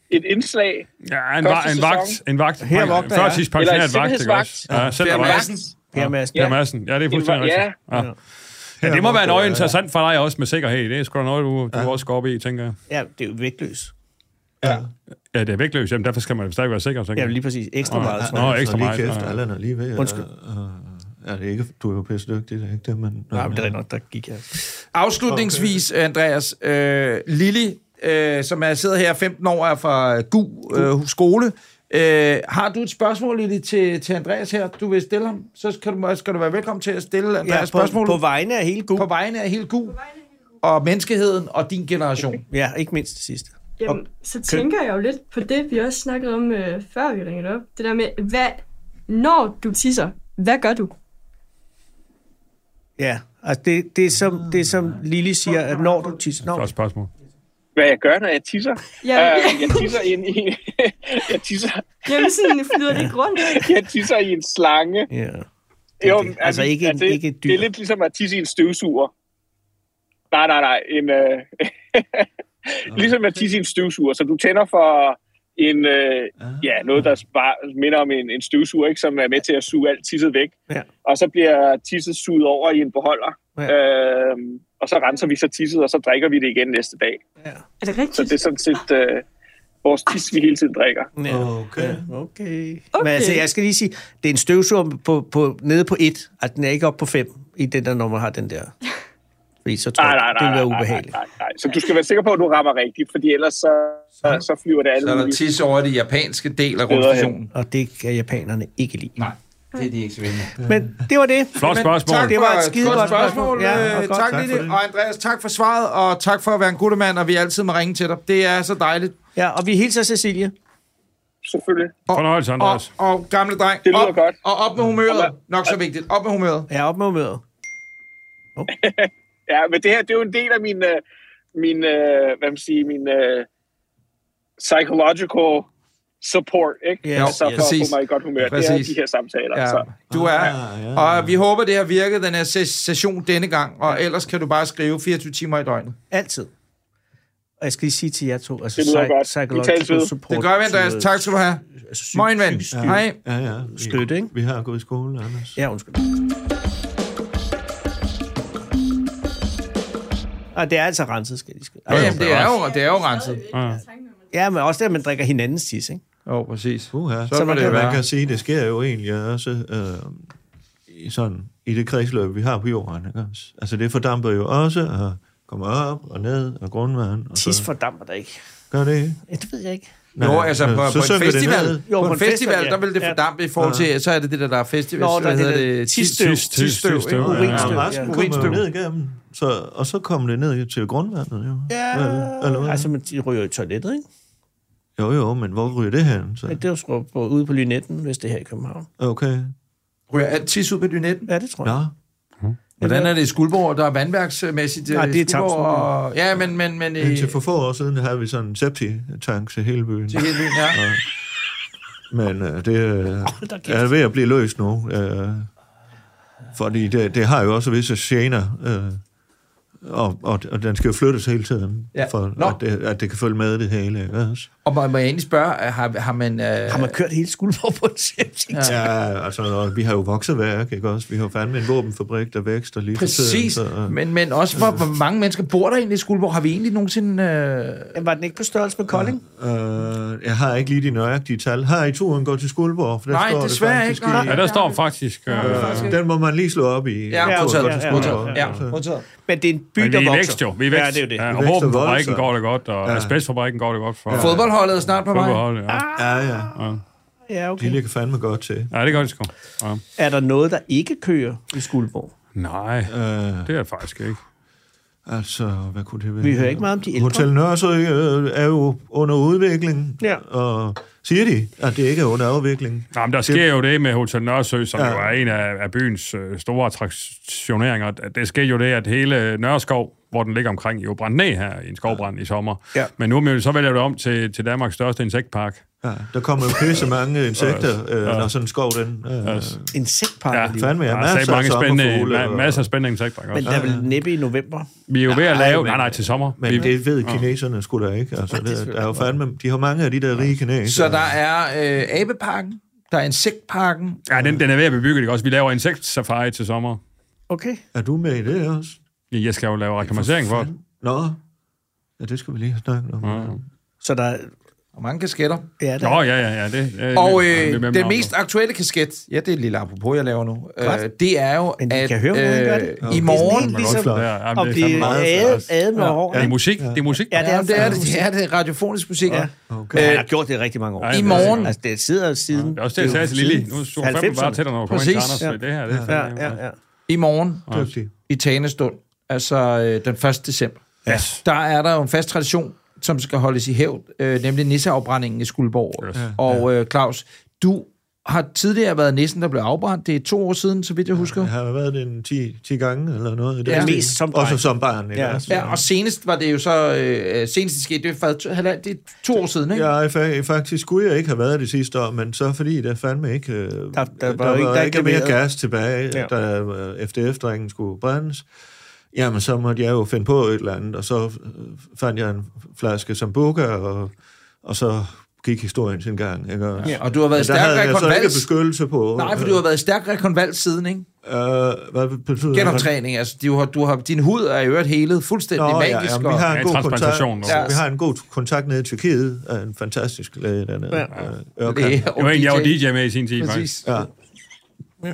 et indslag? Ja, en, Første va- en sæson. vagt. En vagt. Her vogter jeg. Eller Førtidspensioneret en vagt, ikke også? sikkerhedsvagt. Ja, selv Per der var. Madsen. Per Madsen. Per Madsen. Ja, det er fuldstændig Ja. rigtigt. Ja. Ja, det må være noget interessant for dig også med sikkerhed. Det er sgu da noget, du, du også går op i, tænker jeg. Ja, det er jo vægtløs. Ja, det er vægtløst. Jamen, derfor skal man stadig være sikker, tænker Ja, jeg. lige præcis. Ekstra Nå, meget, tror nå, jeg. ikke ekstra ekstra meget. meget, Lige kæft, ja. Allan er lige ved. Undskyld. Øh, øh, er det ikke, du er jo pisse dygtig, det er ikke det, men... Nej, men det er rigtig nok, der gik her. Afslutningsvis, Andreas, øh, Lili, øh, som er sidder her 15 år, er fra øh, GU øh, skole. Øh, har du et spørgsmål, Lili, til, til Andreas her, du vil stille ham? Så skal du, skal du være velkommen til at stille Andreas Ja, ja, på, spørgsmål på vegne af hele på Google. vegne af hele GU og menneskeheden og din generation. Ja, ikke mindst det sidste. Jamen, så tænker jeg jo lidt på det, vi også snakkede om, øh, før vi ringede op. Det der med, hvad, når du tisser, hvad gør du? Ja, altså det, det, er som, det er som Lili siger, at når du tisser... Når, Godt spørgsmål. Hvad jeg gør, når jeg tisser? Ja, Øh, ja. jeg tisser ind i... jeg, tisser, Jamen, sådan flyder det ikke rundt. jeg tisser i en slange. ja. Jo, det. Altså, ikke en- det, ikke et dyr. Det er lidt ligesom at tisse i en støvsuger. Nej, nej, nej. En, øh, ligesom at tisse i en støvsuger. Så du tænder for en, øh, Ah. ja, noget, der bare minder om en, en støvsuger, ikke, som er med til at suge alt tisset væk. Ja. Og så bliver tisset suget over i en beholder. Ja. Ja. Øh, og så renser vi så tisset, og så drikker vi det igen næste dag. Er det Så det er rigtigt? sådan set øh, vores tis, vi hele tiden drikker. Ja. Okay. Okay. okay. Okay. Men altså, jeg skal lige sige, det er en støvsuger på, på, nede på et, at den er ikke oppe på fem, i den der, når man har den der. Fordi så tror Nej, jeg, nej, nej. det vil være nej, ubehageligt. Nej, nej, nej. Så du skal være sikker på, at du rammer rigtigt, fordi ellers så, så, så flyver det alle Så er der mulige tis over det japanske del af Bedre rumstationen. Og det kan japanerne ikke lide. Nej. Det er de ikke så venlige. Men det var det. Flot Men, spørgsmål. Tak, det var et skide godt godt øh, spørgsmål. Ja, Ja, og tak, godt. tak Tak for Lille. det. Og Andreas, tak for svaret, og tak for at være en god mand, og vi altid må ringe til dig. Det er så dejligt. ja, og vi hilser Cecilie. selvfølgelig. Fornøjelse, Og, Andreas. og gamle dreng, Det lyder op, godt. og op med humøret. Nok så vigtigt. Op med humøret. Ja, op med mødet. Ja, men det her, det er jo en del af min, øh, min øh, hvad man siger, min øh, psychological support, ikke? Ja, så for præcis. at få mig i godt humør. Det er Præcis. de her samtaler. Ja. Ja, Så. du er. Ah, ja. Og vi håber, det har virket den her ses- session denne gang, og ellers kan du bare skrive 24 timer i døgnet. Altid. Og jeg skal lige sige til jer to, altså Det lyder godt. Vi tales ved. psychological support. Det gør vi, Andreas. Tak skal du have. Altså, psy- Moin, ven. psy- Hej. Ja, ja. Vi, Støtte, ikke? Vi har gået i skole, Anders. Ja, undskyld. Og det er altså renset, skal de skrive. Jamen, det er jo, det er jo renset. Ja, men også det, at man drikker hinandens tis, ikke? Jo, oh, præcis. Uha. Så må man, det kan, man være. kan sige, det sker jo egentlig også øh, i, sådan, i det kredsløb, vi har på jorden. Ikke? også? Altså det fordamper jo også og kommer op og ned og grundvand. Og Tis så fordamper der ikke. gør det ikke? Ja, det ved jeg ikke. Nej, jo, altså på, øh, på, så synker en det festival, ned. Jo, jo, på en festival, ja. der vil det ja. fordampe i forhold til, så er det det der, der er festival, Nå, der hvad er det hedder der det? tisstøv. Tis- Tisstøv, Tisstøv, ikke? ja. Ja, Urinstøv. resten Ja. kommer jo Urinstøv. ned igennem. Så, og så kommer det ned til grundvandet, jo. Eller, eller, Ja, hvad? altså, man de ryger i toilettet, ikke? jo, jo, men hvor ryger det hen? Men Så? det er jo sgu på- ude på Lynetten, hvis det er her i København. Okay. Ryger alt tis ud på dynetten? Ja, det tror jeg. Nå. Hvordan er det i Skuldborg? Der er vandværksmæssigt... øh, Nej, det er Skuldborg Tamsminde. og- Ja, men... men, men øh, Indtil for få år siden havde vi sådan en septi-tank til hele byen. til hele byen, ja. Men øh, det øh, da kæft. er ved at blive løst nu. Øh, fordi det, det har jo også visse gener. Øh, og, og, og den skal jo flyttes hele tiden, Ja. ja. for Nå. at det, at det kan følge med det hele. Ikke? også? Og må, må jeg egentlig spørge, har, har man... Øh, Har man kørt hele Skuldborg på en septik? Ja. Ja, altså, og vi har jo vokset værk, ikke også? Vi har jo fandme en våbenfabrik, der vækster lige for tiden. Præcis, så, øh, men, men også hvor, hvor mange mennesker bor der egentlig i Skuldborg? Har vi egentlig nogensinde... Øh, Var den ikke på størrelse med Kolding? øh, jeg har ikke lige de nøjagtige tal. Har I turen gået til Skuldborg? For der Nej, står desværre det faktisk ikke, nej. I, Ja, der står faktisk... Øh, Øh, den må man lige slå op i. ja, ja, Turen modtaget, går til ja, modtaget, ja, Skuldborg. ja, Altså. modtaget. Men det er en by, men der vi er i vokser. vækst jo. Vi er vækst. Ja, det er jo det. Ja, og Vi vækster våbenfabrikken voldsomt. går det godt, og Ja. asbestfabrikken går det godt for. Fodboldholdet er snart på vej. Ah! Fodboldholdet, ja. Ja, ja. Ja, De okay. ligger fandme godt til. ja, det gør det sgu. Ja. Er der noget, der ikke kører i Skuldborg? Nej, Øh, det er det faktisk ikke. altså, hvad kunne det være? Vi hører ikke meget om de ældre. Hotel Nørresø øh, er jo under udvikling. Ja. Og siger de, at det ikke er under afvikling? Nej, men der sker jo det med Hotel Nørresø, som ja. Ja. jo er en af, af byens øh, store attraktioneringer. at Det sker jo det, at hele Nørreskov, hvor den ligger omkring, jo brændt ned her i en skovbrand i sommer. Ja. Men nu men så vælger du om til, til Danmarks største insektpark. Ja, der kommer jo pisse mange insekter, øh, når sådan en skov den... Øh, Insektparker. Ja, Ja, fandme, ja, Der er masser så af mange spændende, sommerfugle. ma- og- masser af spændende insektparker Men også. der er vel næppe i november. Vi er jo ved at Nej, lave... men- Nej, nej, til sommer. Men vi, det ved kineserne sgu da ikke. Altså, det, der er jo fandme, de har mange af de der rige kinesere. Så der er øh, abeparken, der er insektparken. ja, den, den er ved at bebygge det også. Vi laver insektsafari til sommer. Okay. Er du med i det også? Jeg skal jo lave reklamering for det. Nå, ja, det skal vi lige snakke om. Ja. Så der er... Og mange kasketter. Ja, der Nå, ja, ja, ja. Det, øh, Og ja, det er øh, med den mig om mest nu. aktuelle kasket, ja, det er et lille apropos, jeg laver nu, øh, Godt. det er jo, Men vi at øh, kan høre, hvordan vi gør det. i Det er morgen... sådan Man kan ligesom, også Ja, klare det. ja, om men det er blive fandme meget ad, ad med Det er hårene. musik, det er musik. Ja, Ja, det er det. faktisk- Det er det radiofonisk musik. Ja. Ja. Øh, Okay. Han har gjort det i rigtig mange år. Ja, I det er morgen, Altså, det sidder jo siden... Det er også det, jeg sagde til Lili. Nu så hun fandme 90'erne. bare tættere, når hun kom ind til Anders. Præcis. Ja. Det her, det er Ja, fandme... ja, ja. i morgen Dygtig. i Tanestund, altså øh, den 1. december, Ja. der er der jo en fast tradition, som skal holdes i hævd, øh, nemlig nisseafbrændingen i Skuldborg. Yes. Yes. Og øh, Claus, du har tidligere været nissen, der blev afbrændt. Det er to år siden, så vidt jeg husker. Jeg har været det en 10, 10 gange eller noget. i den Ja. stil. Mest som Også dreng. som barn. Ikke? Ja. også? Ja, og senest var det jo så, øh, senest det skete, det er for to, halvand- det er to år siden, ikke? Ja, i fa- i faktisk skulle jeg ikke have været det sidste år, men så fordi der fandme ikke... Øh, der, der, var jo ikke- der er ikke mere leveret. gas tilbage, Ja. ja. da øh, FDF-drengen skulle brændes. Jamen, så måtte jeg jo finde på et eller andet, og så øh, fandt jeg en flaske sambuca, og, og så gik historien sin gang. Ikke? Ja. Og du har været Men der stærk havde jeg så ikke rekonvals. beskyttelse på. Nej, for du har været stærk rekonvals siden, ikke? Øh, hvad betyder det? Genoptræning, altså. Du har, du har, din hud er i øvrigt helet fuldstændig Nå, ja, magisk. ja, vi har Ja, en god kontakt. transplantation nu. Ja. Vi har en god kontakt nede i Tyrkiet, af en fantastisk læge dernede. Ja. Øh, og, Ørkan. læge og Det var en, jeg var DJ. DJ med i sin tid, faktisk. Præcis. Ja.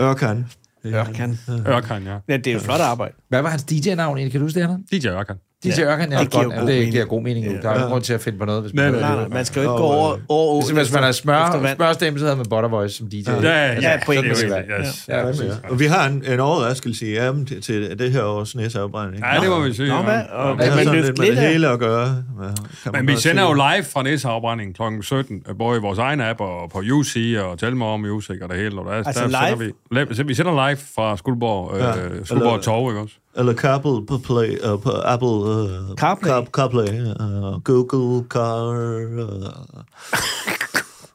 Ørkan. Ørkan. Ørkan, ja. Ja, det er jo flot arbejde. Hvad var hans DJ-navn egentlig? Kan du huske det, Anna? DJ Ørkan. DJ Ja. Ørkan, ja, Det giver godt, jo ja, god det mening. giver god mening. nu. Der er jo grund til at finde på noget, hvis man... nej, Nej, nej, man skal jo ikke gå over... over åen Ligesom hvis man har efter smør, vand. smørstemme, så havde man Buttervoice som DJ. Ja, ja, Ja, på det er engelsk. jo det, yes. Ja, præcis. Ja. Og vi har en, en overraskelse i ærmen til, til det her års næseafbrænding. Ja, det må vi sige. Nå, ja. hvad? Og Ja. det har man sådan løfte lidt med det lidt af? hele at gøre. Ja, kan man Men vi godt sender sige. jo live fra Nisseafbrændingen kl. 17, øh, både i vores egen app og på UC og Tell Me Om Music og det hele. Og der, Altså der live? Sender vi, live- så vi sender live fra Skuldborg, øh, Ja. ja. Skuldborg Eller- Torv, ikke også? Eller Apple på Play, uh, på Apple... Uh, CarPlay. Car, CarPlay uh, Google Car... Uh,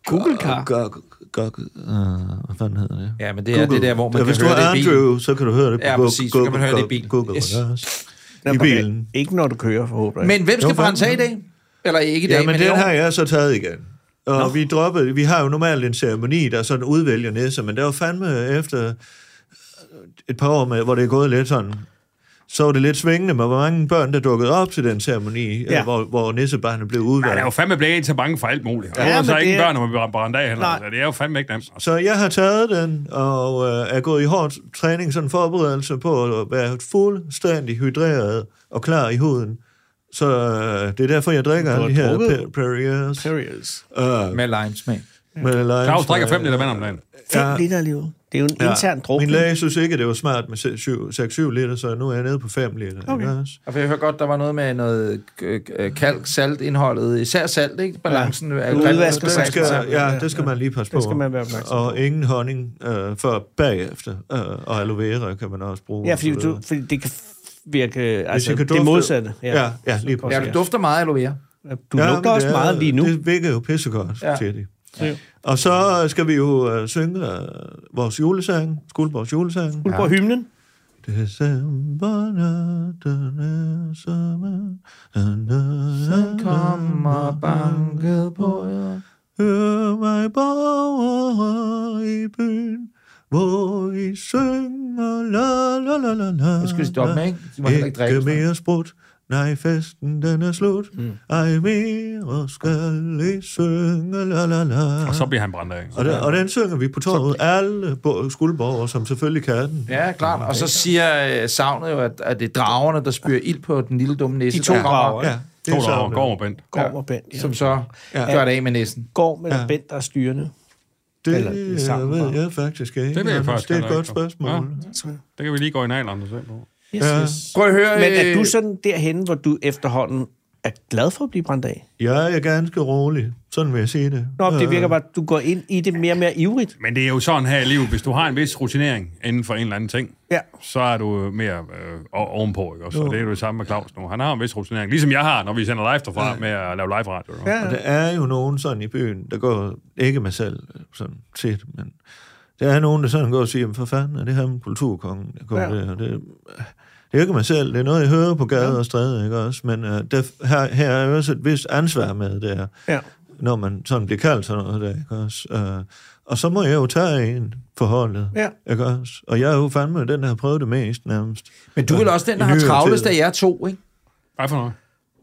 Google Car. Google... Google... Uh, hvad fanden hedder det? Ja, men det er det der, hvor man ja, kan hvis du høre har det i bilen. Andrew, så kan du høre det på Ja, Google. præcis, så kan man høre det i Google- bilen. Google, Yes. yes. Den I var- bilen. Ikke når du kører, forhåbentlig. Men hvem skal Jo, brænde sig i dag? Eller ikke i dag, Ja, men i den år? har jeg så taget igen. Og vi droppede, vi har jo normalt en ceremoni, der sådan udvælger næser, men der var fandme efter et par år, med, hvor det er gået lidt sådan, så var det lidt svingende med, hvor mange børn, der dukkede op til den ceremoni, Ja. ja. hvor, hvor nissebarnet blev udvalgt. Ja, der er jo fandme blevet en til bange for alt muligt. Ja, Ja, der er så men ikke det- børn, når man bliver brændt af. Eller, Nej. altså, det er jo fandme ikke nemt. Altså. Så jeg har taget den, og øh, er gået i hård træning, sådan forberedelse på at være fuldstændig hydreret og klar i huden. Så øh, det er derfor, jeg drikker Du alle har de her drukket? Perriers. Perriers. Øh, Med limesmag. Med Lions, Claus drikker øh, 5 liter vand om dagen. 5 ja. liter alligevel. Det er jo en ja. intern drukning. Min læge synes ikke, at det var smart med 6-7 liter, så nu er jeg nede på 5 liter. Okay. Ikke også? Og for jeg hørte godt, der var noget med noget øh, øh, kalk, salt indholdet, især salt, ikke? Balancen øh, ja. Du udvasker Den salten skal, sammen. ja, det skal man lige passe på. Det skal man være opmærksom Og ingen honning øh, før bagefter. Øh, og aloe vera kan man også bruge. Ja, og fordi, så videre. du, fordi det kan virke Hvis altså, jeg kan det dufte- modsatte. Ja, ja lige Ja, præcis. du dufter meget aloe vera. Du ja, lugter men også det er- meget lige nu. Det virker jo pissegodt, Ja. ja. siger de. Ja. Ja. Og så skal vi jo øh, synge øh, vores julesang, Skuldborgs julesang. Du bruger hymnen. December nat, den er sommer, den er Kommer banket på jer. Hør mig borgere i byen, hvor I synger la la la la la. Nu skal de stoppe med, ikke? De må heller ikke dræbe. sådan. mere sprut, nej festen den er slut. Mm. Ej mere skal I synge la la la. Og så bliver han brændt af. ikke? Og, den, og den synger vi på torvet. Alle bo- skuldborgere, som selvfølgelig kan den. Ja, klart. Og så siger øh, savnet jo, at, at det er dragerne, der spyrer ild på den lille dumme næse. De to der kommer, drager, Ja, To der savnet. går over Bent. Gorm og Bent. Ja. Som så Ja. gør det af med næsen. Gorm eller Ja. Bent, der er styrende. Det Eller det er sammen, ved bare. jeg faktisk ikke. Det ved jeg Anders. faktisk Det er et heller godt ikke, dog. spørgsmål. Ja. Det kan vi lige gå i nailerne og se på. Yes, Ja. yes. Prøv at høre... Men er øh, du sådan derhen, hvor du efterhånden er glad for at blive brændt af? Jeg er ganske rolig. Sådan vil jeg sige det. Nå, det Øh, virker bare, at du går ind i det mere og mere ivrigt. Men det er jo sådan her i livet. Hvis du har en vis rutinering inden for en eller anden ting, Ja. så er du mere øh, o- ovenpå, ikke også? Og det er jo det samme med Claus nu. Han har en vis rutinering, ligesom jeg har, når vi sender live derfra med at lave live radio. ikke? Og der er jo nogen sådan i byen, der går, ikke mig selv sådan set, men der er nogen, der sådan går og siger, "Jamen, for fanden er det her med kulturkongen, der kommer Ja. ja. der. Det, det er ikke mig selv, det er noget, jeg hører på gader og stræder, ikke også? Men uh, der, her, her er jo også et vist ansvar med det her, Ja. når man sådan bliver kaldt sådan noget der, ikke også? Uh, og så må jeg jo tage en forholdet, Ja. ikke også? Og jeg er jo fandme den, der har prøvet det mest nærmest. Øh, Men du er vel også den, der I har nyere travlest tid. af jer to, ikke? Hvad for noget?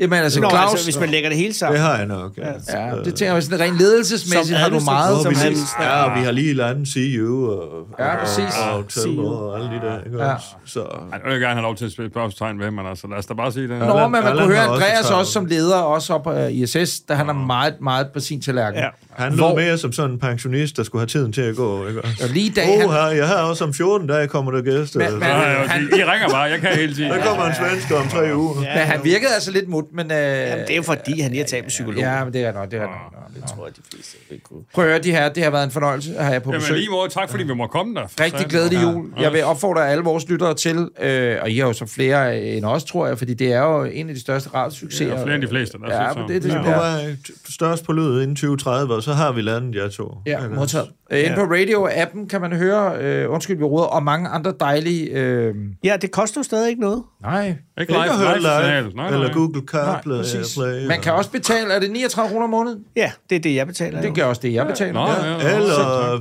Jamen altså, Nå, Claus... altså, hvis man lægger det hele sammen. Det har jeg nok, altså. ja. Ja, det tænker jeg mig sådan rent ledelsesmæssigt Som har du meget. Som Som vi, han- ja, og vi har lige landet CU og, Ja, og, præcis. og, og Tømmer og alle de der. Ikke Ja. ja. Så Ej, nu vil jeg gerne have lov til at spille spørgsmålstegn ved, men altså, lad os da bare sige det. Nå, men man Allan kunne høre har også Andreas også, travlt. som leder, også op øh, af ISS, da han er meget, meget på sin tallerken. Ja. han lød Hvor- mere som sådan en pensionist, der skulle have tiden til at gå. Ikke? Og lige i dag, Åh, han, jeg har også om 14 dage kommer der gæster. Men- Men, Så men- men, har jeg jo Han- sige, I ringer bare, jeg kan hele tiden. der kommer en svensker om tre uger. Ja. men han virkede altså lidt mut, men... Øh, Jamen, det er jo fordi, han lige har talt med psykolog. Ja, men det er nok, det er nok. Det tror jeg, de fleste vil kunne. Prøv at høre, de her, det har været en fornøjelse at have jer på Jamen, besøg. lige måde, tak fordi vi må komme der. Rigtig glædelig jul. Jeg vil opfordre alle vores lyttere til, øh, og I har jo så flere øh, end os, tror jeg, fordi det er jo en af de største radiosucceser. Ja, flere end de fleste, lad os Ja, sige men så. det, det, Vi er på ja. vej størst på lydet inden 2030, og så har vi landet jer to. Ja, Ikke? modtaget. Øh, Inde på radio-appen kan man høre, øh, undskyld, vi råder, og mange andre dejlige... Øh, Ja, det koster jo stadig ikke noget. nej, Ikke Ikke live, at høre live, live, live. Nej, eller nej. Google CarPlay. præcis. Airplay, Man kan også betale, er det 39 kroner om måneden? Ja, det er det, jeg betaler. Det jo. gør også det, jeg betaler. Nå, Ja. ja, ja. Eller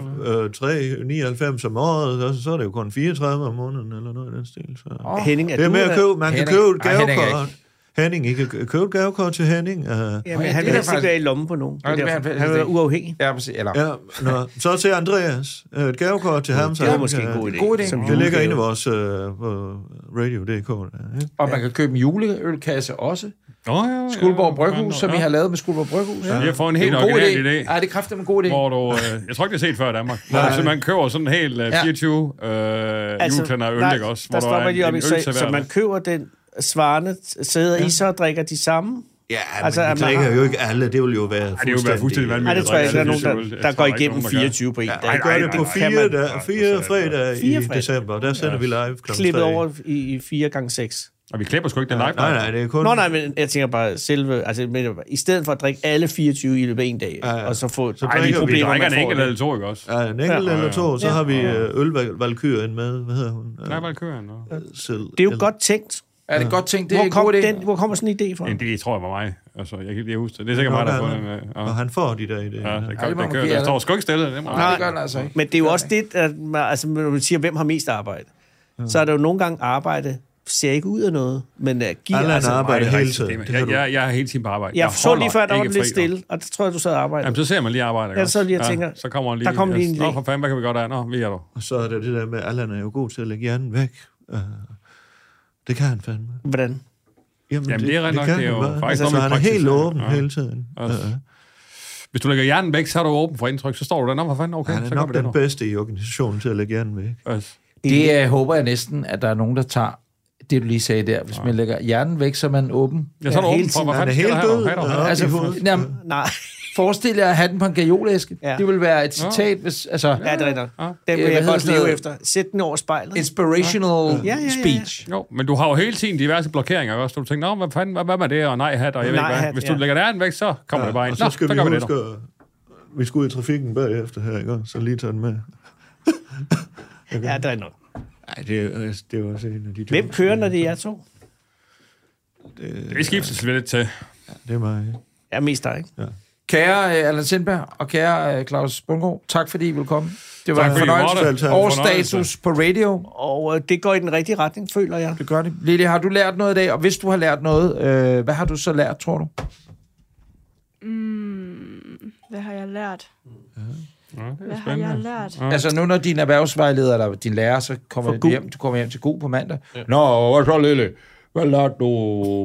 øh, 3,99 om året, og så- så er det jo kun 34 om måneden, eller noget i den stil. Så. Åh. Henning, er Det er du, med at øh, købe, man Henning. kan købe et Ej, Henning er gavekort. Henning, I kan kø- købe et gavekort til Henning. Uh, Jamen, Ja, han det vil er helst faktisk- ikke være i lommen på nogen. Det er det vil derfor. han han vil være helst ikke. uafhængig. Ja, præcis. Eller, ja, nå. Så til Andreas. Øh, Et gavekort til ham. så Det var han måske kan- en god idé. god idé. Som Det ligger julegave. inde i vores øh, på radio.dk. der, ikke? Og man kan købe en juleølkasse også. Nå, ja, ja. Skuldborg Bryghus, som vi Ja. har lavet med Skuldborg Bryghus. Ja. Vi har fået en Det er helt en god original idé. idé. Ja, det er kraftigt en god idé. Hvor du, øh, jeg tror ikke, det er set før i Danmark. Hvor du Nej. simpelthen køber sådan en hel øh, Ja. 24 øh, altså, juleklænder øl, ikke også? der Hvor stopper de en, op en i øl så, til så hver. man køber den svarende, sidder i sig og drikker de samme. Ja, men Altså, altså, at vi man drikker har- jo ikke alle. Det vil jo være fuldstændig... det vil være fuldstændig vanvittigt. Nej, det tror jeg ikke, der er nogen, Jeg der, tror der går ikke, igennem nogen, der gør. 24 på en Jeg dag. gør nej, det nej, på nej, fire, kan man da, fire fredag Fire i fredag. december. Der sender vi live klokken klippet tre. over i, i 4 gange 6 Og vi klipper sgu ikke den live. Nej, nej, det er kun... Nå nej, men jeg tænker bare selve, altså jeg mener bare, i stedet for at drikke alle 24 i løbet af en dag, ja, ja. og så få så Ej, vi, drikker vi problemer, drikker man en får enkelt af eller to, ikke også? Ja, en enkelt Ja. eller to, så Ja. har vi øh, ølvalkyrien med. Hvad hedder hun? Øh, Nej, bare kører han. nå. det. det er jo godt tænkt. Er det godt tænkt? Det er Hvor, en god kom idé. den, hvor kommer sådan en idé fra? Jamen, Det tror jeg var mig. Altså, jeg kan ikke lige huske det. Det er sikkert Nå, mig, der har ja, fået den. ja. øh, Ja, Og han får de der i det. Ja, den kører- det må den man kører. give Der jer. står sgu ikke stille. Det må man- Nej, det gør den altså ikke. Men det er jo også det, at man, altså, når man siger, hvem har mest arbejde, så er der jo nogle gange arbejde, ser ikke ud af noget, men uh, giver Allan altså... Nej, arbejder det er hele rigtigt. tiden. Det- Det kan Jeg, du. jeg, jeg er hele tiden på arbejde. Jeg så lige holder før, der var ikke lidt fri, stille, og der tror jeg, du sad og arbejdede. Jamen, så ser man lige arbejde. ikke Ja, så også? lige og tænker, så kommer han lige. der kom lige en Nå, idé. for fanden, hvad kan vi godt af? Nå, vi er der. Og så er der det der med, at Allan er jo god til at lægge hjernen væk. Øh, det kan han fandme. Hvordan? Jamen, det er rigtig nok, kan det er han jo bare. faktisk altså, så noget med Øh, han er helt praktisk, ja. åben Ja. hele tiden. Altså. Ja. Hvis du lægger hjernen væk, så er du åben for indtryk. Så står du der, nå, hvad fanden, okay, Han er så gør nok vi det nu. den bedste i organisationen til at lægge hjernen væk. Altså, Det øh, håber jeg næsten, at der er nogen, der tager det, du lige sagde der. Hvis man lægger hjernen væk, så er man åben. ja, så er du Ja, hele åben for, tiden. hvad Han er fanden sker helt der død. her? nu? Hey, Ja. dog. Altså, i hovedet. jamen, Nej, forestil jer at have den på en gajolæske. Ja. Ja. Det vil være et Nå. citat, hvis... Altså, ja, det er rigtigt. Ja. Den Ja, vil hvad jeg hedder godt sådan leve noget? efter. Sæt den over spejlet. inspirational ja, ja, ja. speech. Jo, men du har jo hele tiden diverse blokeringer også. Du tænker, nå, hvad fanden, hvad, hvad med det, og nej hat, og jeg ved ikke hvad. Nej-hat, Hvis du ja. lægger hjernen væk, så kommer det bare ind. Og så skal nå, vi så gør vi det huske, nu. at vi skal ud i trafikken bagefter her, ikke? Så lige tage den med. Ja, det er rigtigt. nok. Nej, det, er- altså, det er også en af de Hvem dummeste. kører, når det er jer to? Det skiftes lidt til. Det er mig. ikke? Ja, mest dig, ikke? Kære øh, Allan Sindberg og kære øh, Claus Bungård, tak fordi I ville komme. Det var Tak en fordi I måtte. fornøjelse. Tak. Årsstatus på radio. Og øh, det går i den rigtige retning, føler jeg. Det gør det. Lille, har du lært noget i dag? Og hvis du har lært noget, øh, hvad har du så lært, tror du? Mm, hvad har jeg lært? Ja, det er Hvad har jeg spændende. lært? Ja. Altså nu, når din erhvervsvejleder eller din lærer, så kommer For du god. hjem, du kommer hjem til god på mandag. Ja. Nå, hvad så, Lille? Hvad lærte du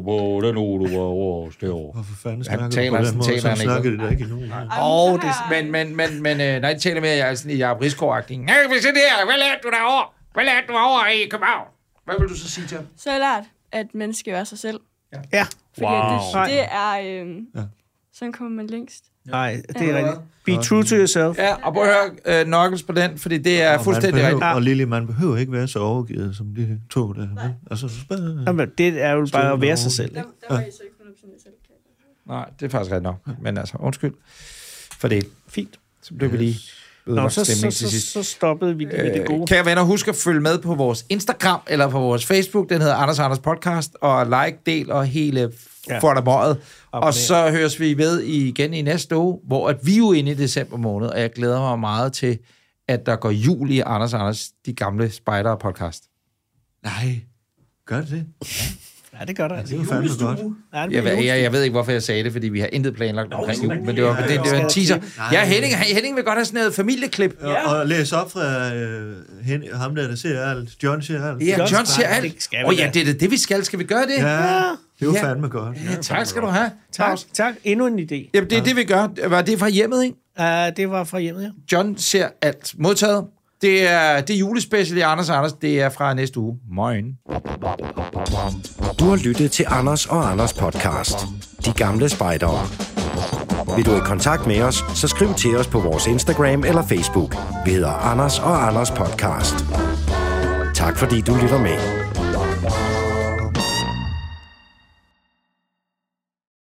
på den uge, du var over os det år? Hvorfor fanden snakker du taler på sådan, den måde, taler så han ikke. snakker det da ikke endnu. Nej. Åh, oh, så har jeg- men, men, men, men, øh, nej, det taler mere, jeg er sådan i Jacob Risgaard-agtig. Nej, vi ser det her, hvad lærte du derovre? Hvad lærte du over i København? Hvad vil du så sige til ham? Så har jeg lært, at man skal være sig selv. Ja. Fordi Wow. det, det er... Øh, Ja. Sådan kommer man længst. Nej, det er rigtigt. Be true to yourself. Ja, og prøv at høre øh, Knuckles på den, fordi det er fuldstændig rigtigt. Og Lili, man behøver ikke være så overgivet som de to der. vel? Altså, så bare... Jamen, det er jo bare at være sig selv. Der, Ikke? der var I så ikke 100% selv. Nej, det er faktisk rigtigt nok, men altså, undskyld for det. Fint. Så blev vi lige Nå, ødelagt så, så, stemning til så, sidst. så stoppede vi lige med det gode. Øh, Kære venner, husk at følge med på vores Instagram eller på vores Facebook. Den hedder Anders og Anders Podcast. Og like, del og hele Ja. ja. fornemmeret. Abonner. Og så høres vi ved igen i næste uge, hvor at vi er jo inde i december måned, og jeg glæder mig meget til, at der går jul i Anders og Anders, de gamle spider podcast. Nej, gør Altså, det det? Ja, det gør der. altså. Det er jo fandme godt. Ja, det Jeg, bliver ved- jul. jeg, jeg ved ikke, hvorfor jeg sagde det, fordi vi har intet planlagt omkring jul, men det var, det, det var en teaser. Ja, Henning, Henning vil godt have sådan noget familieklip. Ja. Og læs op fra øh, hen, ham der, der ser alt. John ser alt. Ja, John ser Spider, alt. det skal vi Åh oh, ja, da. det er da det, vi skal. Skal vi gøre det? ja det var Ja. fandme godt. Ja, tak skal du have. Tak, tak. Endnu en idé. Jamen, det er det, vi gør. Var det fra hjemmet, ikke? Uh, det var fra hjemmet, ja. John ser alt. Modtaget. Det er, det er julespecial i Anders og Anders. Det er fra næste uge. Morgen. Du har lyttet til Anders og Anders podcast. De gamle spejdere. Vil du i kontakt med os, så skriv til os på vores Instagram eller Facebook. Vi hedder Anders og Anders podcast. Tak fordi du lytter med.